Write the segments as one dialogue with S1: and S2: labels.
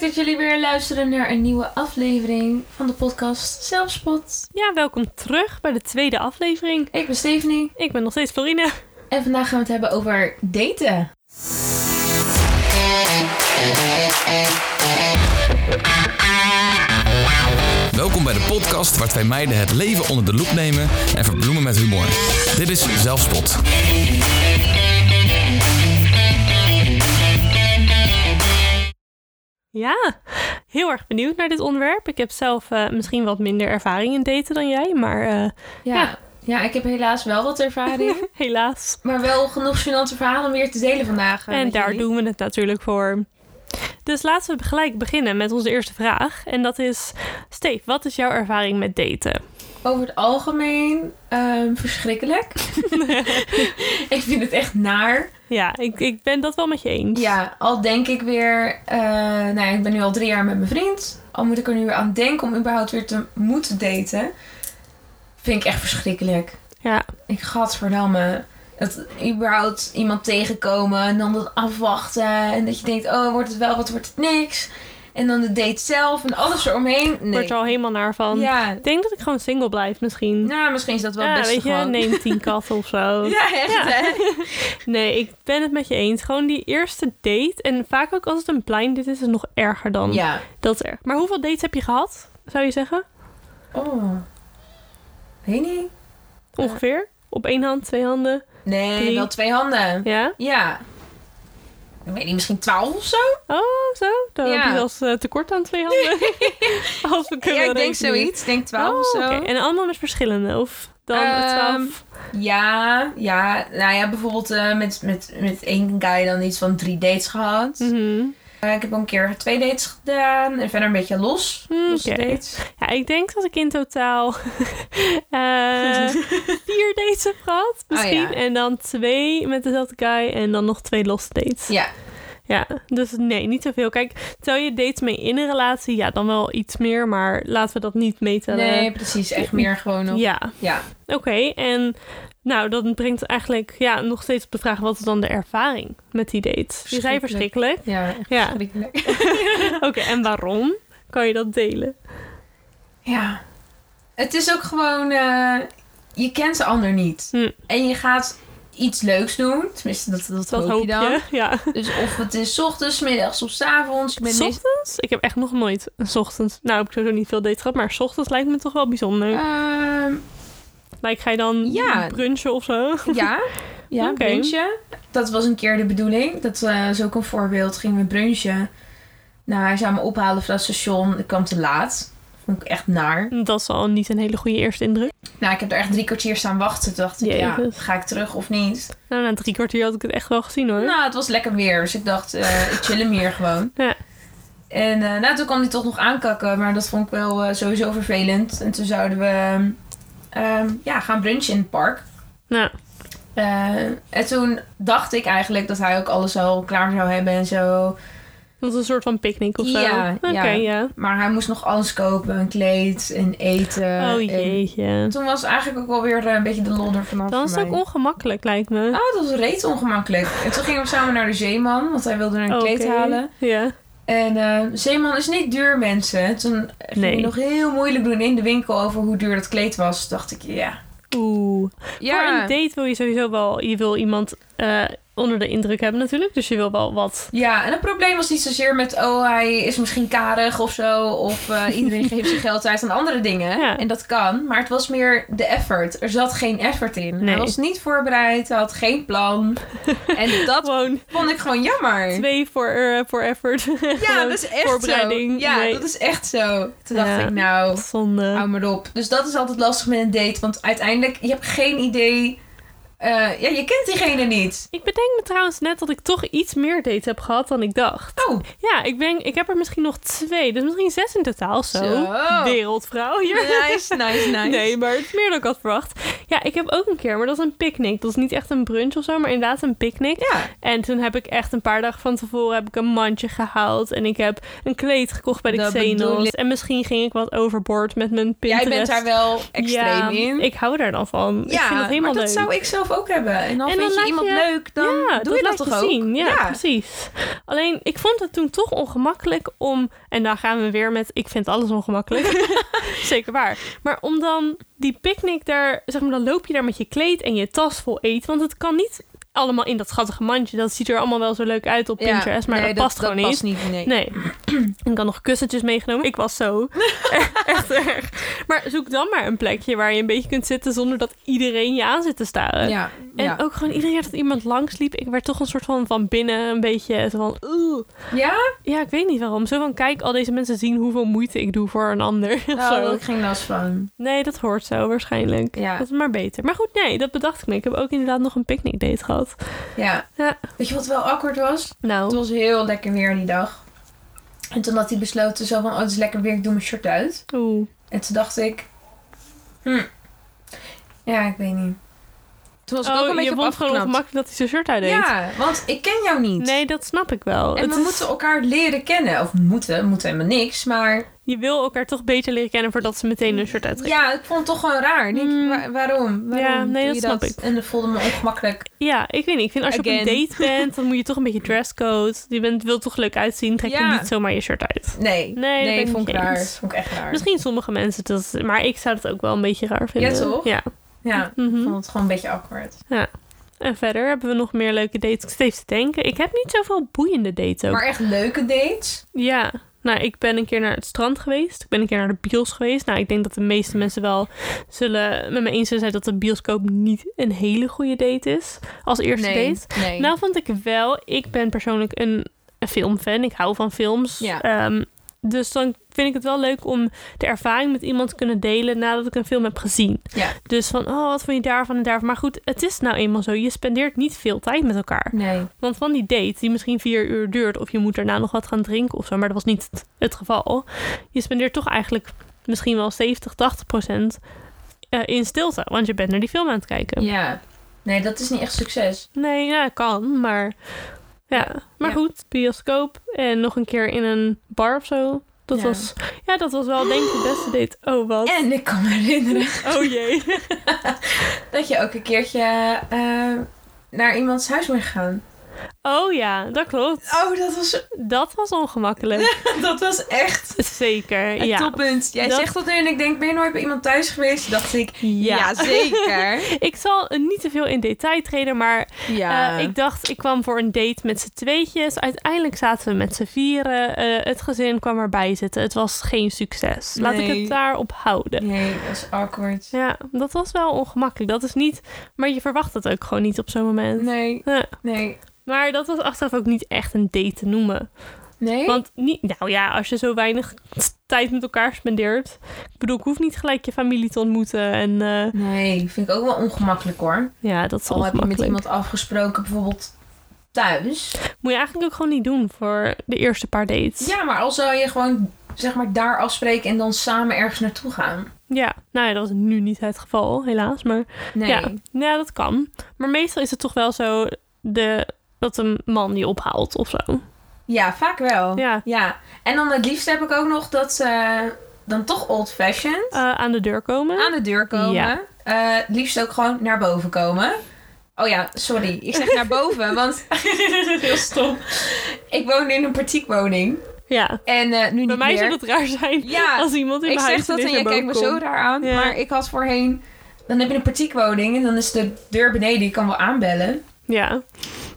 S1: dat jullie weer luisteren naar een nieuwe aflevering van de podcast Zelfspot.
S2: Ja, welkom terug bij de tweede aflevering.
S1: Ik ben Stephanie
S2: Ik ben nog steeds Florine.
S1: en vandaag gaan we het hebben over daten.
S3: Welkom bij de podcast waar twee meiden het leven onder de loep nemen en verbloemen met humor. Dit is Zelfspot.
S2: Ja, heel erg benieuwd naar dit onderwerp. Ik heb zelf eh, misschien wat minder ervaring in daten dan jij, maar eh,
S1: Ja, ja.
S2: Ja.
S1: ik heb helaas wel wat ervaring,
S2: helaas.
S1: maar wel genoeg gênante verhalen om weer te delen vandaag. eh,
S2: en
S1: met
S2: daar
S1: jullie.
S2: doen we het natuurlijk voor. Dus laten we gelijk beginnen met onze eerste vraag. En dat is, Steef, wat is jouw ervaring met daten?
S1: Over het algemeen ehm, verschrikkelijk. ik vind het echt naar.
S2: Ja, ik, ik ben dat wel met je eens.
S1: Ja, al denk ik weer. eh, nou ja, ik ben nu al drie jaar met mijn vriend. Al moet ik er nu weer aan denken om überhaupt weer te moeten daten. Vind ik echt verschrikkelijk.
S2: Ja.
S1: Ik gadverdamme. Dat überhaupt iemand tegenkomen en dan dat afwachten. En dat je denkt, oh, wordt het wel wat, wordt het niks. En dan de date zelf en alles eromheen. Nee.
S2: Word er al helemaal naar van.
S1: Ja,
S2: Ik denk dat ik gewoon single blijf misschien.
S1: nou, misschien is dat wel
S2: ja,
S1: best best
S2: weet je,
S1: gewoon.
S2: neem tien katten of zo.
S1: Ja, echt
S2: Ja.
S1: hè?
S2: Nee, ik ben het met je eens. Gewoon die eerste date. En vaak ook als het een blind date is, is het nog erger dan.
S1: Ja.
S2: Dat is erg. Maar hoeveel dates heb je gehad, zou je zeggen?
S1: Oh. Weet niet. Eh.
S2: Ongeveer? Op één hand, twee handen?
S1: Nee,
S2: Drie.
S1: wel twee handen.
S2: Ja?
S1: Ja. Ik weet niet, misschien twaalf of zo?
S2: Oh, zo? Dan
S1: Ja.
S2: heb je zelfs eh, tekort aan twee handen. als we kunnen
S1: ja, ik denk
S2: rekenen.
S1: zoiets. Ik denk twaalf
S2: Oh,
S1: of zo.
S2: oké. En allemaal met verschillende? Of dan
S1: Ehm,
S2: twaalf?
S1: Ja, ja. Nou ja, bijvoorbeeld eh, met, met, met één guy dan iets van drie dates gehad.
S2: Mhm.
S1: Eh, ik heb ook een keer twee dates gedaan. En verder een beetje los.
S2: Mm,
S1: Losse
S2: oké.
S1: dates.
S2: Ja, ik denk dat ik in totaal eh, vier dates heb gehad, misschien.
S1: Oh, ja.
S2: En dan twee met dezelfde guy en dan nog twee losse dates.
S1: Ja,
S2: Ja, dus nee, niet zoveel. Kijk, tel je dates mee in een relatie, ja, dan wel iets meer, maar laten we dat niet meetellen.
S1: nee, precies. Echt meer gewoon op...
S2: Ja,
S1: Ja.
S2: oké. En nou, dat brengt eigenlijk ja, nog steeds op de vraag, wat is dan de ervaring met die dates? Je zei
S1: Verschrikkelijk.
S2: verschrikkelijk.
S1: Ja, echt
S2: Ja.
S1: verschrikkelijk.
S2: Oké, en waarom? Kan je dat delen?
S1: Ja. Het is ook gewoon... eh, je kent de ander niet.
S2: Hm.
S1: En je gaat iets leuks doen. Tenminste, dat, dat,
S2: Dat
S1: hoop, je dan.
S2: Ja.
S1: Dus of het is 's ochtends, 's middags of 's avonds. Ik ben
S2: S
S1: niet-
S2: ochtends? Ik heb echt nog nooit een ochtends. Nou, heb ik sowieso niet veel dates gehad, maar 's ochtends lijkt me toch wel bijzonder.
S1: Ehm,
S2: Lijkt ga je dan
S1: ja.
S2: brunchen of zo?
S1: ja, ja
S2: Oké.
S1: brunchen. Dat was een keer de bedoeling. Dat eh, is ook een voorbeeld. Gingen we brunchen. Nou, hij zou me ophalen van het station. Ik kwam te laat. Vond ik echt naar.
S2: Dat is al niet een hele goede eerste indruk.
S1: Nou, ik heb er echt drie kwartier staan wachten. Toen dacht ik, ja,
S2: Jezus.
S1: ga ik terug of niet?
S2: Nou, na drie kwartier had ik het echt wel gezien hoor.
S1: Nou, het was lekker weer. Dus ik dacht, eh, ik chill hem hier gewoon.
S2: Ja.
S1: En eh, nou, toen kwam hij toch nog aankakken. Maar dat vond ik wel eh, sowieso vervelend. En toen zouden we ehm, ja, gaan brunchen in het park.
S2: Nou,
S1: Eh, en toen dacht ik eigenlijk dat hij ook alles al klaar zou hebben en zo.
S2: dat is een soort van picknick of zo.
S1: Ja,
S2: Oké,
S1: ja.
S2: ja.
S1: Maar hij moest nog alles kopen: een kleed en eten.
S2: oh
S1: Eh, En
S2: jeetje.
S1: toen was eigenlijk ook alweer eh, een beetje de lol er vanaf.
S2: Dan is
S1: voor
S2: het ook
S1: mij.
S2: ongemakkelijk, lijkt me.
S1: Oh, dat was reeds ongemakkelijk. En toen gingen we samen naar de Zeeman, want hij wilde er een kleed
S2: Oh, Oké.
S1: halen.
S2: Ja.
S1: En eh, Zeeman is niet duur, mensen. Toen ging
S2: Nee.
S1: hij nog heel moeilijk doen in de winkel over hoe duur dat kleed was. Toen dacht ik, ja.
S2: Oeh. Voor een date wil je sowieso wel... Je wil iemand eh, onder de indruk hebben natuurlijk. Dus je wil wel wat...
S1: Ja, en het probleem was niet zozeer met, oh, hij is misschien karig of zo. Of eh, iedereen geeft zijn geld uit aan andere dingen.
S2: Ja.
S1: En dat kan. Maar het was meer de effort. Er zat geen effort in.
S2: Nee.
S1: Hij was niet voorbereid, hij had geen plan. en dat
S2: Gewoon
S1: vond ik gewoon jammer.
S2: twee voor, eh, voor effort.
S1: Ja, dat is echt
S2: voorbereiding.
S1: zo. Ja,
S2: Nee.
S1: dat is echt zo. Toen dacht
S2: Ja.
S1: ik, nou,
S2: Zonde.
S1: hou maar op. Dus dat is altijd lastig met een date. Want uiteindelijk, je hebt geen idee... eh, ja, je kent diegene niet.
S2: Ik bedenk me trouwens net dat ik toch iets meer dates heb gehad dan ik dacht.
S1: Oh,
S2: Ja, ik, ben, ik heb er misschien nog twee, dus misschien zes in totaal zo.
S1: Zo.
S2: Wereldvrouw hier.
S1: nice, nice, nice.
S2: Nee, maar het is meer dan ik had verwacht. Ja, ik heb ook een keer, maar dat is een picknick. Dat is niet echt een brunch of zo, maar inderdaad een picknick.
S1: Ja,
S2: En toen heb ik echt een paar dagen van tevoren heb ik een mandje gehaald. En ik heb een kleed gekocht bij de
S1: Dat bedoel
S2: Xenos.
S1: ik.
S2: En misschien ging ik wat overboord met mijn Pinterest.
S1: jij bent daar wel extreem
S2: Ja,
S1: in.
S2: ik hou daar dan van. ik vind dat helemaal
S1: maar dat
S2: leuk.
S1: zou ik zelf ook hebben. En dan
S2: En
S1: vind
S2: dan
S1: je
S2: laat
S1: iemand
S2: je-
S1: leuk, dan
S2: ja,
S1: doe je dat
S2: laat
S1: toch
S2: je
S1: ook?
S2: zien. Ja, precies. Alleen, ik vond het toen toch ongemakkelijk om... En daar gaan we weer met, ik vind alles ongemakkelijk. Zeker waar. Maar om dan die picknick daar... Zeg maar, dan loop je daar met je kleed en je tas vol eten. Want het kan niet allemaal in dat schattige mandje. Dat ziet er allemaal wel zo leuk uit op
S1: Ja,
S2: Pinterest. Maar
S1: nee,
S2: dat past gewoon niet.
S1: past niet. nee.
S2: Nee. ik had nog kussentjes meegenomen. Ik was zo. E-, Echt erg. Maar zoek dan maar een plekje waar je een beetje kunt zitten zonder dat iedereen je aan zit te staren.
S1: Ja,
S2: eh, En
S1: ja.
S2: ook gewoon iedere keer dat iemand langsliep, ik werd toch een soort van van binnen een beetje zo van oeh.
S1: ja?
S2: Ja, ik weet niet waarom. Zo van kijk, al deze mensen zien hoeveel moeite ik doe voor een ander. of
S1: daar had
S2: zo.
S1: ik geen last van.
S2: Nee, dat hoort zo waarschijnlijk.
S1: Oh. Ja.
S2: Dat is maar beter. Maar goed, nee, dat bedacht ik me. Ik heb ook inderdaad nog een picknickdate gehad.
S1: Ja.
S2: Ja.
S1: Weet je wat wel awkward was? Het
S2: Nou,
S1: was heel lekker weer die dag. En toen had hij besloten zo van, oh het is lekker weer, ik doe mijn shirt uit.
S2: oeh.
S1: En toen dacht ik, hm. Ja, ik weet niet. Toen was ik ook
S2: Oh,
S1: een
S2: je
S1: beetje op
S2: vond gewoon
S1: afgeknapt.
S2: ongemakkelijk dat hij zijn shirt uitdeed.
S1: Ja, want ik ken jou niet.
S2: Nee, dat snap ik wel.
S1: en
S2: Het
S1: we
S2: is-
S1: moeten elkaar leren kennen. Of moeten, moeten helemaal niks. Maar
S2: Je wil elkaar toch beter leren kennen voordat ze meteen een shirt uittrekken.
S1: ja, ik vond het toch gewoon raar. Ik Denk,
S2: Mm.
S1: wa- waarom? waarom?
S2: Ja, nee,
S1: doe
S2: dat
S1: je
S2: snap ik.
S1: En dat voelde me ongemakkelijk.
S2: Ja. ik weet niet. Ik vind als je op
S1: Again.
S2: een date bent, dan moet je toch een beetje dresscode. Je bent, wil toch leuk uitzien. Trek
S1: Ja.
S2: je niet zomaar je shirt uit.
S1: Nee,
S2: Nee, dat ben ik
S1: vond ik
S2: niet
S1: raar.
S2: eens.
S1: Vond ik echt raar.
S2: Misschien sommige mensen, dat, maar ik zou dat ook wel een beetje raar vinden.
S1: Ja, toch?
S2: Ja.
S1: Ja, ik
S2: Mhm.
S1: vond het gewoon een beetje awkward.
S2: En verder hebben we nog meer leuke dates. Ik zit even te denken. Ik heb niet zoveel boeiende dates ook.
S1: Maar echt leuke dates.
S2: Ja. Nou, ik ben een keer naar het strand geweest. Ik ben een keer naar de bios geweest. Nou, ik denk dat de
S1: Mm.
S2: meeste mensen wel zullen met me eens zijn dat de bioscoop niet een hele goede date is. Als eerste date.
S1: nee.
S2: Nou, vond ik wel. Ik ben persoonlijk een, een filmfan. Ik hou van films.
S1: Ja.
S2: Ehm, dus dan vind ik het wel leuk om de ervaring met iemand te kunnen delen nadat ik een film heb gezien.
S1: Ja.
S2: Dus van, oh, wat vond je daarvan en daarvan. Maar goed, het is nou eenmaal zo. Je spendeert niet veel tijd met elkaar.
S1: Nee.
S2: Want van die date, die misschien vier uur duurt... of je moet daarna nog wat gaan drinken of zo... maar dat was niet het- het geval. Je spendeert toch eigenlijk misschien wel 70, 80 procent... eh, in stilte, want je bent naar die film aan het kijken.
S1: Ja. Nee, dat is niet echt succes.
S2: Nee, ja, kan, maar. Ja, maar
S1: Ja.
S2: goed, bioscoop en nog een keer in een bar of zo. Dat
S1: Ja.
S2: was, ja, dat was wel denk ik de beste date. Oh, wat?
S1: En ik kan me herinneren
S2: Oh jee.
S1: dat je ook een keertje eh, naar iemands huis bent gegaan.
S2: Oh ja, dat klopt.
S1: Oh, dat was,
S2: Dat was ongemakkelijk.
S1: dat was echt
S2: Zeker,
S1: het
S2: ja.
S1: toppunt. Jij
S2: Dat-
S1: zegt dat nu en ik denk, ben je nooit bij iemand thuis geweest? Dacht ik, ja,
S2: Ja.
S1: zeker.
S2: Ik zal niet te veel in detail treden, maar
S1: Ja.
S2: Eh, ik dacht, ik kwam voor een date met z'n tweetjes. Uiteindelijk zaten we met z'n vieren. Eh, het gezin kwam erbij zitten. Het was geen succes. Laat ik
S1: Nee.
S2: het daarop houden.
S1: Nee, dat is awkward.
S2: Ja, dat was wel ongemakkelijk. Dat is niet. Maar je verwacht het ook gewoon niet op zo'n moment.
S1: Nee,
S2: Ja,
S1: nee.
S2: maar dat was achteraf ook niet echt een date te noemen.
S1: Nee?
S2: Want niet, nou ja, als je zo weinig tijd met elkaar spendeert. Ik bedoel, ik hoef niet gelijk je familie te ontmoeten. En eh,
S1: Nee, vind ik ook wel ongemakkelijk hoor.
S2: ja, dat is
S1: Al heb je met
S2: ongemakkelijk.
S1: iemand afgesproken, bijvoorbeeld thuis.
S2: Moet je eigenlijk ook gewoon niet doen voor de eerste paar dates.
S1: Ja, maar al zou je gewoon zeg maar daar afspreken en dan samen ergens naartoe gaan.
S2: Ja, nou ja, dat is nu niet het geval, helaas. Maar
S1: Nee.
S2: ja, Nou ja, dat kan. Maar meestal is het toch wel zo de, dat een man die ophaalt of
S1: Oh.
S2: zo.
S1: Ja, vaak wel.
S2: Ja,
S1: En dan het liefst heb ik ook nog dat ze dan toch old-fashioned
S2: eh, aan de deur komen.
S1: aan de deur komen.
S2: Ja.
S1: Eh, het liefst ook gewoon naar boven komen. Oh ja, sorry. Ik zeg naar boven, want... Heel stom. Ik woon in een partiekwoning.
S2: Ja.
S1: En eh, nu
S2: Bij
S1: niet
S2: mij
S1: meer.
S2: zou dat raar zijn
S1: Ja,
S2: als iemand in
S1: ik
S2: mijn
S1: zeg
S2: huis
S1: dat en
S2: ineens
S1: je
S2: naar
S1: kijkt me
S2: boven
S1: zo
S2: komt.
S1: raar aan.
S2: Ja.
S1: Maar ik had voorheen... Dan heb je een partiekwoning en dan is de deur beneden. Je kan wel aanbellen.
S2: Ja,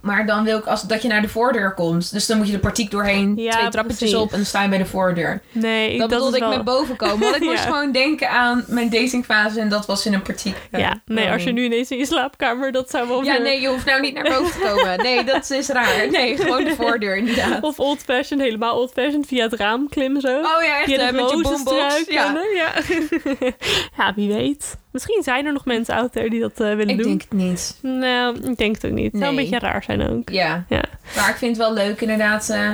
S1: Maar dan wil ik als, dat je naar de voordeur komt. Dus dan moet je de partiek doorheen,
S2: Ja,
S1: twee trappetjes
S2: precies.
S1: op en dan sta je bij de voordeur.
S2: nee,
S1: dat
S2: ik- dat
S1: bedoelde
S2: is
S1: ik
S2: wel...
S1: met boven komen. Want ik moest
S2: Ja.
S1: gewoon denken aan mijn datingfase en dat was in een partiek. eh,
S2: Ja, nee, als je nu ineens in je slaapkamer, dat zou wel
S1: Ja,
S2: weer-
S1: nee, je hoeft nou niet naar boven te komen. Nee, dat is raar. Nee, gewoon de voordeur inderdaad.
S2: Of old fashioned, helemaal old fashioned, via het raam klimmen zo.
S1: Oh ja, echt
S2: Via
S1: eh,
S2: de
S1: met je boombox.
S2: rozenstruik
S1: Ja.
S2: rennen, Ja. ja, wie weet. Misschien zijn er nog mensen out there die dat eh, willen
S1: Ik
S2: doen.
S1: denk het niet.
S2: Nou, ik denk het ook niet. Het zou een
S1: Nee.
S2: beetje raar zijn ook.
S1: Ja.
S2: Ja.
S1: Maar ik vind het wel leuk inderdaad eh,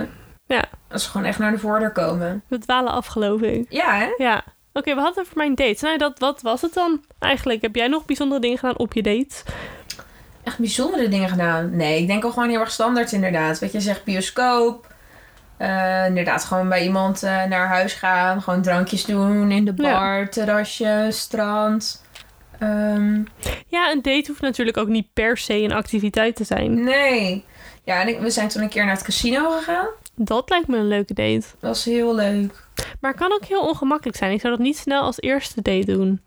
S2: Ja.
S1: als we gewoon echt naar de voordeur komen.
S2: We dwalen af, geloof ik.
S1: Ja, hè?
S2: Ja. Oké, we hadden het over mijn dates. Nou, dat, wat was het dan eigenlijk? Heb jij nog bijzondere dingen gedaan op je date?
S1: Echt bijzondere dingen gedaan. Nee, ik denk al gewoon heel erg standaard inderdaad. Wat je zegt, bioscoop. Eh, inderdaad, gewoon bij iemand eh, naar huis gaan. Gewoon drankjes doen in de bar, terrasje, strand. ehm,
S2: Ja, een date hoeft natuurlijk ook niet per se een activiteit te zijn.
S1: nee. Ja, en ik- we zijn toen een keer naar het casino gegaan.
S2: Dat lijkt me een leuke date.
S1: Dat was heel leuk.
S2: Maar het kan ook heel ongemakkelijk zijn. Ik zou dat niet snel als eerste date doen.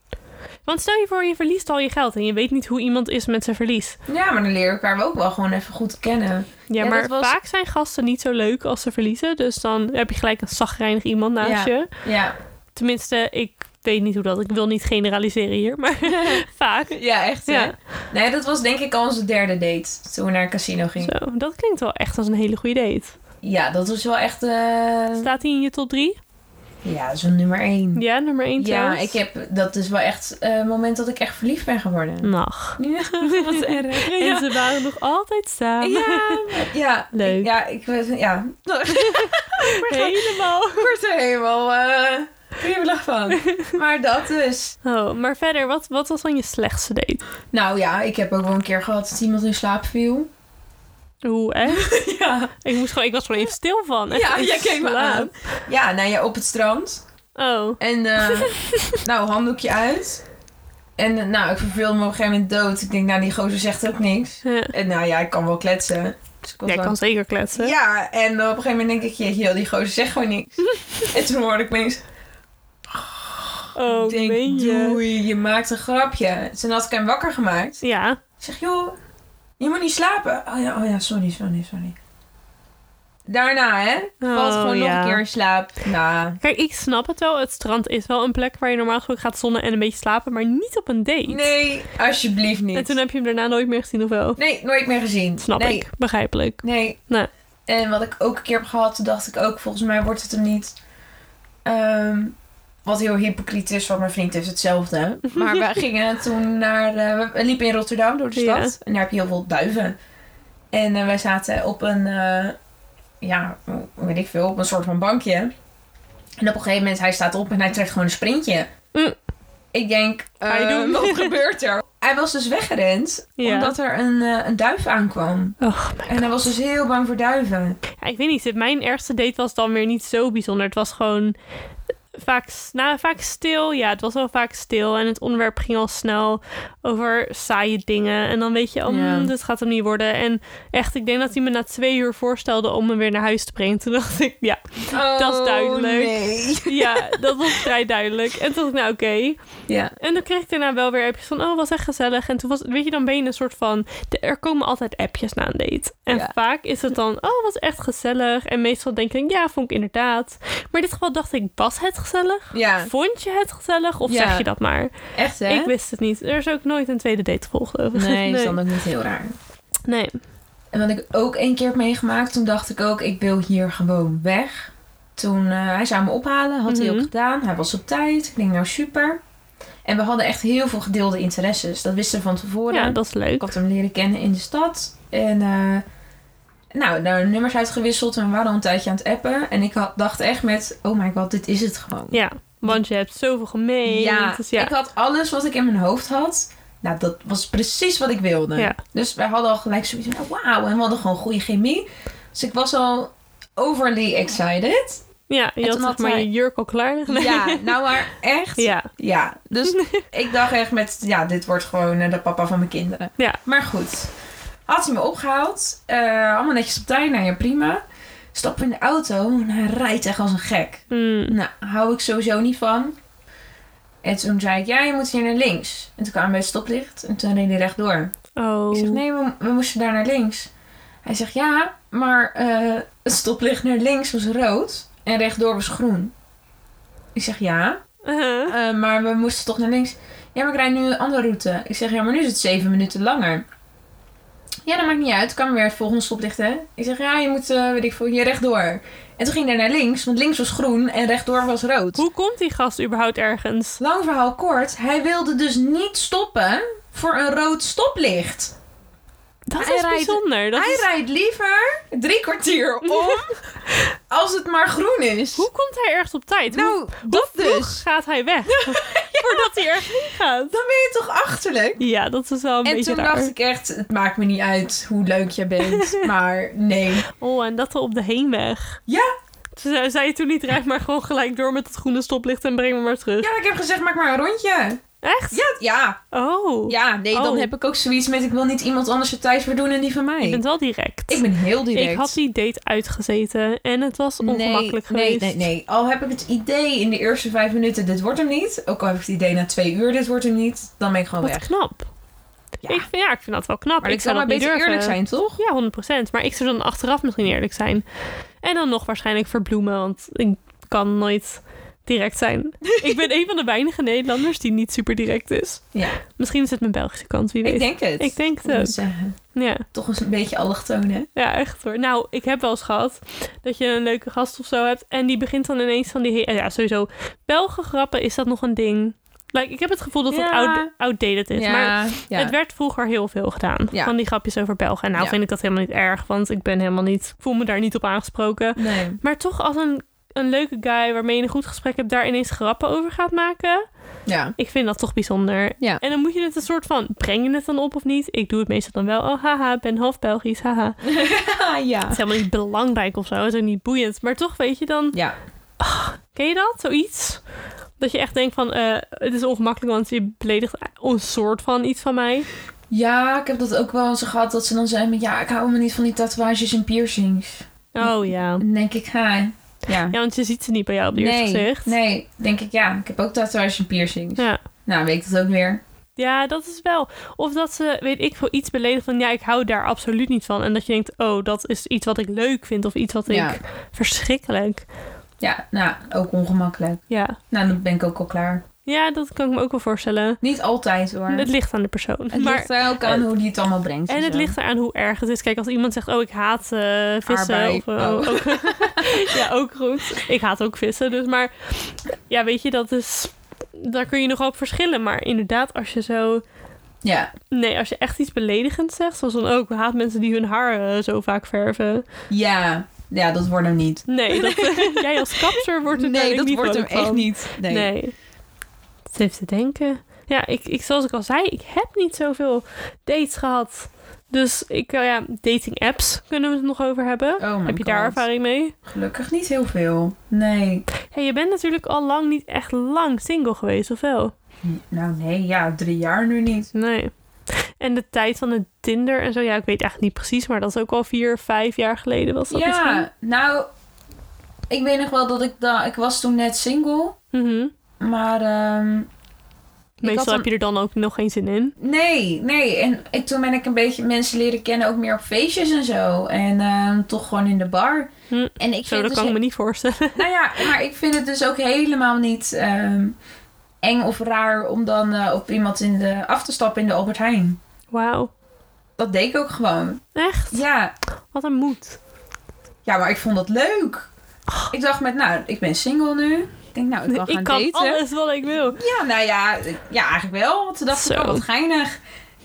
S2: Want stel je voor, je verliest al je geld en je weet niet hoe iemand is met zijn verlies.
S1: Ja, maar dan leren we elkaar ook wel gewoon even goed kennen.
S2: Ja,
S1: Ja,
S2: maar
S1: dat was-
S2: vaak zijn gasten niet zo leuk als ze verliezen. Dus dan heb je gelijk een zagrijnig iemand naast je.
S1: Ja,
S2: Tenminste, ik weet niet hoe dat. Ik wil niet generaliseren hier, maar vaak.
S1: ja echt. hè?
S2: Ja.
S1: Nee, dat was denk ik al onze derde date toen we naar een casino gingen.
S2: Zo, dat klinkt wel echt als een hele goede date.
S1: Ja, dat was wel echt... eh,
S2: Staat hij in je top 3?
S1: Ja, dat is wel nummer één.
S2: Ja, nummer 1
S1: Ja, ik heb, dat is wel echt eh, het moment dat ik echt verliefd ben geworden.
S2: Nacht.
S1: Ja, Mm. wat erg.
S2: En ze waren nog altijd samen.
S1: Ja, ja.
S2: Leuk.
S1: Ja, ik weet- ja.
S2: Helemaal.
S1: Ik word er helemaal eh kriebelig van. Maar dat dus.
S2: Oh, maar verder, wat, wat was dan je slechtste date?
S1: Nou ja, ik heb ook wel een keer gehad dat iemand in slaap viel.
S2: Hoe echt?
S1: Ja,
S2: Ik, moest gewoon, ik was gewoon even stil van.
S1: ja
S2: Even
S1: jij keek me
S2: Nou, slaap.
S1: aan. Ja, nou ja, op het strand.
S2: Oh,
S1: En eh, nou, handdoekje uit. En eh, nou, ik verveelde me op een gegeven moment dood. Ik denk, nou, die gozer zegt ook niks.
S2: ja.
S1: En nou ja, ik kan wel kletsen. Dus ik was
S2: jij
S1: wel-
S2: kan zeker kletsen.
S1: Ja, en op een gegeven moment denk ik, jeetje, joh, die gozer zegt gewoon niks. en toen hoorde ik ineens,
S2: Oh,
S1: ik denk,
S2: meen je?
S1: doei, je maakt een grapje. Toen had ik hem wakker gemaakt.
S2: Ja,
S1: Ik zeg, joh, je moet niet slapen. Oh ja, oh ja, sorry, sorry, sorry. Daarna, hè, valt
S2: Oh,
S1: gewoon nog
S2: ja.
S1: een keer in slaap. Nou,
S2: kijk, ik snap het wel. Het strand is wel een plek waar je normaal gesproken gaat zonnen en een beetje slapen, maar niet op een date.
S1: nee, alsjeblieft niet.
S2: En toen heb je hem daarna nooit meer gezien, of wel?
S1: Nee, nooit meer gezien.
S2: Snap
S1: nee,
S2: ik, begrijpelijk.
S1: Nee.
S2: Nee.
S1: En wat ik ook een keer heb gehad, toen dacht ik ook, volgens mij wordt het hem niet. Ehm, wat heel hypocriet is, want mijn vriend is hetzelfde.
S2: Mhm.
S1: Maar wij gingen toen naar. eh, we liepen in Rotterdam door de
S2: Ja.
S1: stad. En daar heb je heel veel duiven. En eh, wij zaten op een. eh, ja, weet ik veel, op een soort van bankje. En op een gegeven moment, hij staat op en hij trekt gewoon een sprintje.
S2: Mm.
S1: Ik denk,
S2: Ga je
S1: eh,
S2: doen?
S1: wat gebeurt er? Hij was dus weggerend,
S2: Ja. Oh
S1: omdat er een, eh, een duif aankwam.
S2: Och,
S1: En hij was dus heel bang voor duiven.
S2: Ja, ik weet niet. Mijn ergste date was dan weer niet zo bijzonder. Het was gewoon eh, vaak, s- nou, vaak stil. Ja, het was wel vaak stil. En het onderwerp ging al snel over saaie dingen. En dan weet je, oh,
S1: Ja.
S2: mm, dit gaat hem niet worden. En echt, ik denk dat hij me na twee uur voorstelde om me weer naar huis te brengen. Toen dacht ik, ja, Dat is duidelijk.
S1: Oh, Nee.
S2: ja dat was vrij duidelijk. En toen dacht ik, nou oké.
S1: Ja.
S2: En dan kreeg ik daarna wel weer appjes van, oh, was echt gezellig. En toen was, weet je, dan ben je een soort van, de- er komen altijd appjes na een date. En
S1: Ja.
S2: vaak is het dan, oh, was echt gezellig. En meestal denk ik, ja, vond ik inderdaad. Maar in dit geval dacht ik, was het gezellig?
S1: ja,
S2: Vond je het gezellig? Of
S1: Ja.
S2: zeg je dat maar?
S1: echt hè?
S2: Ik wist het niet. Er is ook nooit een tweede date gevolgd over.
S1: nee, is dan ook niet heel raar.
S2: nee.
S1: En wat ik ook één keer heb meegemaakt, toen dacht ik ook, ik wil hier gewoon weg. Toen eh, hij zou me ophalen, had hij
S2: Mhm.
S1: ook gedaan. Hij was op tijd. Ik denk, nou super. En we hadden echt heel veel gedeelde interesses. Dat wisten we van tevoren.
S2: Ja, dat is leuk.
S1: Ik had hem leren kennen in de stad. En eh, nou, nou, nummers uitgewisseld. En we waren al een tijdje aan het appen. En ik had, dacht echt met, oh my god, dit is het gewoon.
S2: Ja, want je hebt zoveel gemeen.
S1: Ja,
S2: Dus ja.
S1: ik had alles wat ik in mijn hoofd had. Nou, dat was precies wat ik wilde.
S2: Ja.
S1: Dus wij hadden al gelijk zoiets van, wauw, en we hadden gewoon goede chemie. Dus ik was al overly excited.
S2: ja, je
S1: En
S2: had
S1: toen
S2: zeg
S1: had
S2: maar
S1: hij-
S2: je jurk al klaar. liggen.
S1: Ja, nou maar echt.
S2: Ja.
S1: Ja, dus ik dacht echt met, ja, dit wordt gewoon eh, de papa van mijn kinderen.
S2: Ja.
S1: Maar goed, had hij me opgehaald. eh, allemaal netjes op tijd, nou ja, prima. Stap in de auto en hij rijdt echt als een gek.
S2: Mm.
S1: Nou, hou ik sowieso niet van. En toen zei ik, ja, je moet hier naar links. En toen kwamen we bij het stoplicht en toen reed hij rechtdoor.
S2: Oh.
S1: Ik zeg, nee, we, we moesten daar naar links. Hij zegt, ja, maar eh, het stoplicht naar links was rood en rechtdoor was groen. Ik zeg, ja,
S2: Uh-huh.
S1: eh, maar we moesten toch naar links. Ja, maar ik rijd nu een andere route. Ik zeg, ja, maar nu is het zeven minuten langer. Ja, dat maakt niet uit. Kan weer het volgende stoplicht, hè? Ik zeg, ja, je moet, eh, weet ik veel, hier rechtdoor. En toen ging hij naar links, want links was groen en rechtdoor was rood.
S2: Hoe komt die gast überhaupt ergens?
S1: Lang verhaal kort, hij wilde dus niet stoppen voor een rood stoplicht.
S2: Dat
S1: Hij
S2: is
S1: rijdt-
S2: bijzonder. Dat
S1: hij
S2: is-
S1: rijdt liever drie kwartier om als het maar groen is.
S2: Hoe komt hij ergens op tijd? Hoe
S1: Nou, dat dus.
S2: gaat hij weg? Voordat hij ergens heen gaat.
S1: Dan ben je toch achterlijk?
S2: Ja, dat is wel een
S1: En
S2: beetje
S1: toen
S2: raar.
S1: dacht ik echt, het maakt me niet uit hoe leuk jij bent, maar nee.
S2: Oh, en dat er op de heenweg.
S1: Ja.
S2: Ze zei- zei je toen niet, rijd maar gewoon gelijk door met het groene stoplicht en breng me maar terug.
S1: Ja, ik heb gezegd, maak maar een rondje.
S2: Echt?
S1: Ja, ja.
S2: Oh,
S1: ja nee, dan
S2: Oh.
S1: heb ik ook zoiets met ik wil niet iemand anders het thuis verdoen en die van mij.
S2: je bent wel direct.
S1: Ik ben heel direct.
S2: Ik had die date uitgezeten en het was ongemakkelijk
S1: nee,
S2: geweest.
S1: Nee, nee, nee. Al heb ik het idee in de eerste vijf minuten, dit wordt hem niet. Ook al heb ik het idee na twee uur, dit wordt hem niet. Dan ben ik gewoon
S2: Wat
S1: weg.
S2: knap.
S1: Oh, Ja.
S2: Ik, vind- ja, ik vind dat wel knap.
S1: maar
S2: ik
S1: ik kan maar
S2: zou dat niet
S1: beter
S2: durven.
S1: eerlijk zijn, toch?
S2: Ja, 100%. Maar ik zou dan achteraf misschien eerlijk zijn. En dan nog waarschijnlijk verbloemen, want ik kan nooit direct zijn. ik ben een van de weinige Nederlanders die niet super direct is.
S1: Ja,
S2: Misschien is het mijn Belgische kant, wie weet.
S1: ik denk het. Dus-
S2: Ik denk
S1: Ik moet
S2: het.
S1: zeggen,
S2: Ja.
S1: Toch eens een beetje allochtoon, hè?
S2: ja, echt hoor. Nou, ik heb wel eens gehad dat je een leuke gast of zo hebt. En die begint dan ineens van die... he- Ja, sowieso. Belgen grappen, is dat nog een ding? Like, ik heb het gevoel dat dat
S1: Ja.
S2: out- outdated is. Maar
S1: ja, ja.
S2: Het werd vroeger heel veel gedaan.
S1: Ja.
S2: Van die grapjes over Belgen. En nou
S1: Ja.
S2: vind ik dat helemaal niet erg. Want ik ben helemaal niet. Ik voel me daar niet op aangesproken.
S1: Nee.
S2: Maar toch als een, een leuke guy waarmee je een goed gesprek hebt, daar ineens grappen over gaat maken.
S1: Ja.
S2: Ik vind dat toch bijzonder.
S1: Ja.
S2: En dan moet je het een soort van. Breng je het dan op of niet? Ik doe het meestal dan wel. Oh, haha, ik ben half Belgisch. Haha. Het
S1: Ah, ja.
S2: is helemaal niet belangrijk of zo. Het is ook niet boeiend. Maar toch weet je dan.
S1: Ja.
S2: Ken je dat? Zoiets? Dat je echt denkt van. eh, het is ongemakkelijk, want je beledigt een soort van iets van mij.
S1: Ja, ik heb dat ook wel eens gehad dat ze dan zeiden met... Ja, ik hou me niet van die tatoeages en piercings.
S2: Oh ja.
S1: En dan denk ik, ha... Ja.
S2: Ja, want je ziet ze niet bij jou op het eerste
S1: nee,
S2: gezicht.
S1: nee, denk ik ja. Ik heb ook tatoeages en piercings.
S2: Ja.
S1: Nou, weet ik dat ook weer.
S2: ja, dat is wel. Of dat ze, weet ik veel, iets beledigen van... ja, ik hou daar absoluut niet van. En dat je denkt, oh, dat is iets wat ik leuk vind... of iets wat ik
S1: Ja.
S2: verschrikkelijk...
S1: Ja, nou, ook ongemakkelijk.
S2: Ja.
S1: Nou, dan ben ik ook al klaar.
S2: ja, dat kan ik me ook wel voorstellen.
S1: Niet altijd hoor.
S2: Het ligt aan de persoon.
S1: Het
S2: maar,
S1: ligt er ook aan
S2: eh,
S1: hoe die het allemaal brengt.
S2: en het
S1: zo.
S2: ligt eraan hoe erg het is. Kijk, als iemand zegt, oh, ik haat eh, vissen...
S1: Aardbei.
S2: Of, eh,
S1: Oh.
S2: ook, ja, ook goed. Ik haat ook vissen, dus maar... Ja, weet je, dat is... Daar kun je nog wel op verschillen. Maar inderdaad, als je zo...
S1: Ja.
S2: Nee, als je echt iets beledigends zegt, zoals dan ook, haat mensen die hun haar eh, zo vaak verven.
S1: ja, ja, dat wordt hem niet.
S2: Nee, dat, eh, jij als kapster wordt er
S1: nee,
S2: duidelijk
S1: dat
S2: niet
S1: wordt hem
S2: vrolijk
S1: echt
S2: van.
S1: niet. Nee.
S2: Nee. Het heeft te denken. Ja, ik, ik, zoals ik al zei, ik heb niet zoveel dates gehad. Dus ik, eh, ja, dating apps kunnen we het nog over hebben.
S1: Oh my
S2: heb je daar
S1: God.
S2: ervaring mee?
S1: Gelukkig niet heel veel. Nee.
S2: Hey, je bent natuurlijk al lang niet echt lang single geweest, of wel?
S1: Nou, nee, ja, drie jaar nu niet.
S2: Nee. En de tijd van het Tinder en zo, ja, ik weet eigenlijk niet precies, maar dat is ook al vier, vijf jaar geleden was dat misschien.
S1: Ja, nou, ik weet nog wel dat ik da Ik was toen net single,
S2: Mhm.
S1: maar. ehm, ik had
S2: Meestal
S1: een-
S2: heb je er dan ook nog geen zin in.
S1: Nee, nee. En ik, toen ben ik een beetje mensen leren kennen, ook meer op feestjes en zo. En ehm, toch gewoon in de bar.
S2: Hm,
S1: En ik vind
S2: Zo, dat
S1: dus
S2: kan ik me niet voorstellen.
S1: Nou ja, maar ik vind het dus ook helemaal niet ehm, eng of raar om dan eh, op iemand in de, af te stappen in de Albert Heijn.
S2: Wauw.
S1: Dat deed ik ook gewoon.
S2: Echt?
S1: Ja,
S2: Wat een moed.
S1: ja maar ik vond dat leuk. Ik dacht met, nou, ik ben single nu. Ik denk, nou, ik kan
S2: ik
S1: gaan
S2: kan
S1: daten.
S2: alles wat ik wil.
S1: Ja, nou ja, ja, eigenlijk wel. Want toen dacht ik,
S2: Zo.
S1: oh, wat geinig.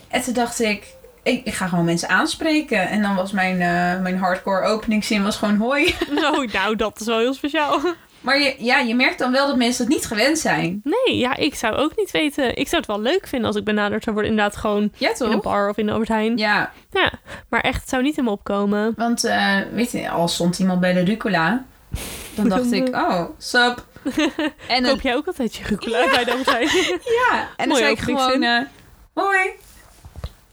S1: En toen dacht ik, ik, ik ga gewoon mensen aanspreken. En dan was mijn, eh, mijn hardcore openingszin was gewoon hoi.
S2: Oh, nou, dat is wel heel speciaal.
S1: Maar je, ja, je merkt dan wel dat mensen dat niet gewend zijn.
S2: Nee, ja, ik zou ook niet weten. Ik zou het wel leuk vinden als ik benaderd zou worden. Inderdaad, gewoon
S1: Ja,
S2: in een
S1: toch?
S2: bar of in de Albert Heijn. Ja.
S1: Ja,
S2: Maar echt, het zou niet in me opkomen.
S1: Want eh, weet je, al stond iemand bij de Rucola, dan dacht ik, oh, sup. En dan,
S2: Koop jij ook altijd je rucola bij de Albert Heijn?
S1: ja, en dan
S2: Mooi
S1: zei ik
S2: openingszin.
S1: gewoon, eh, hoi.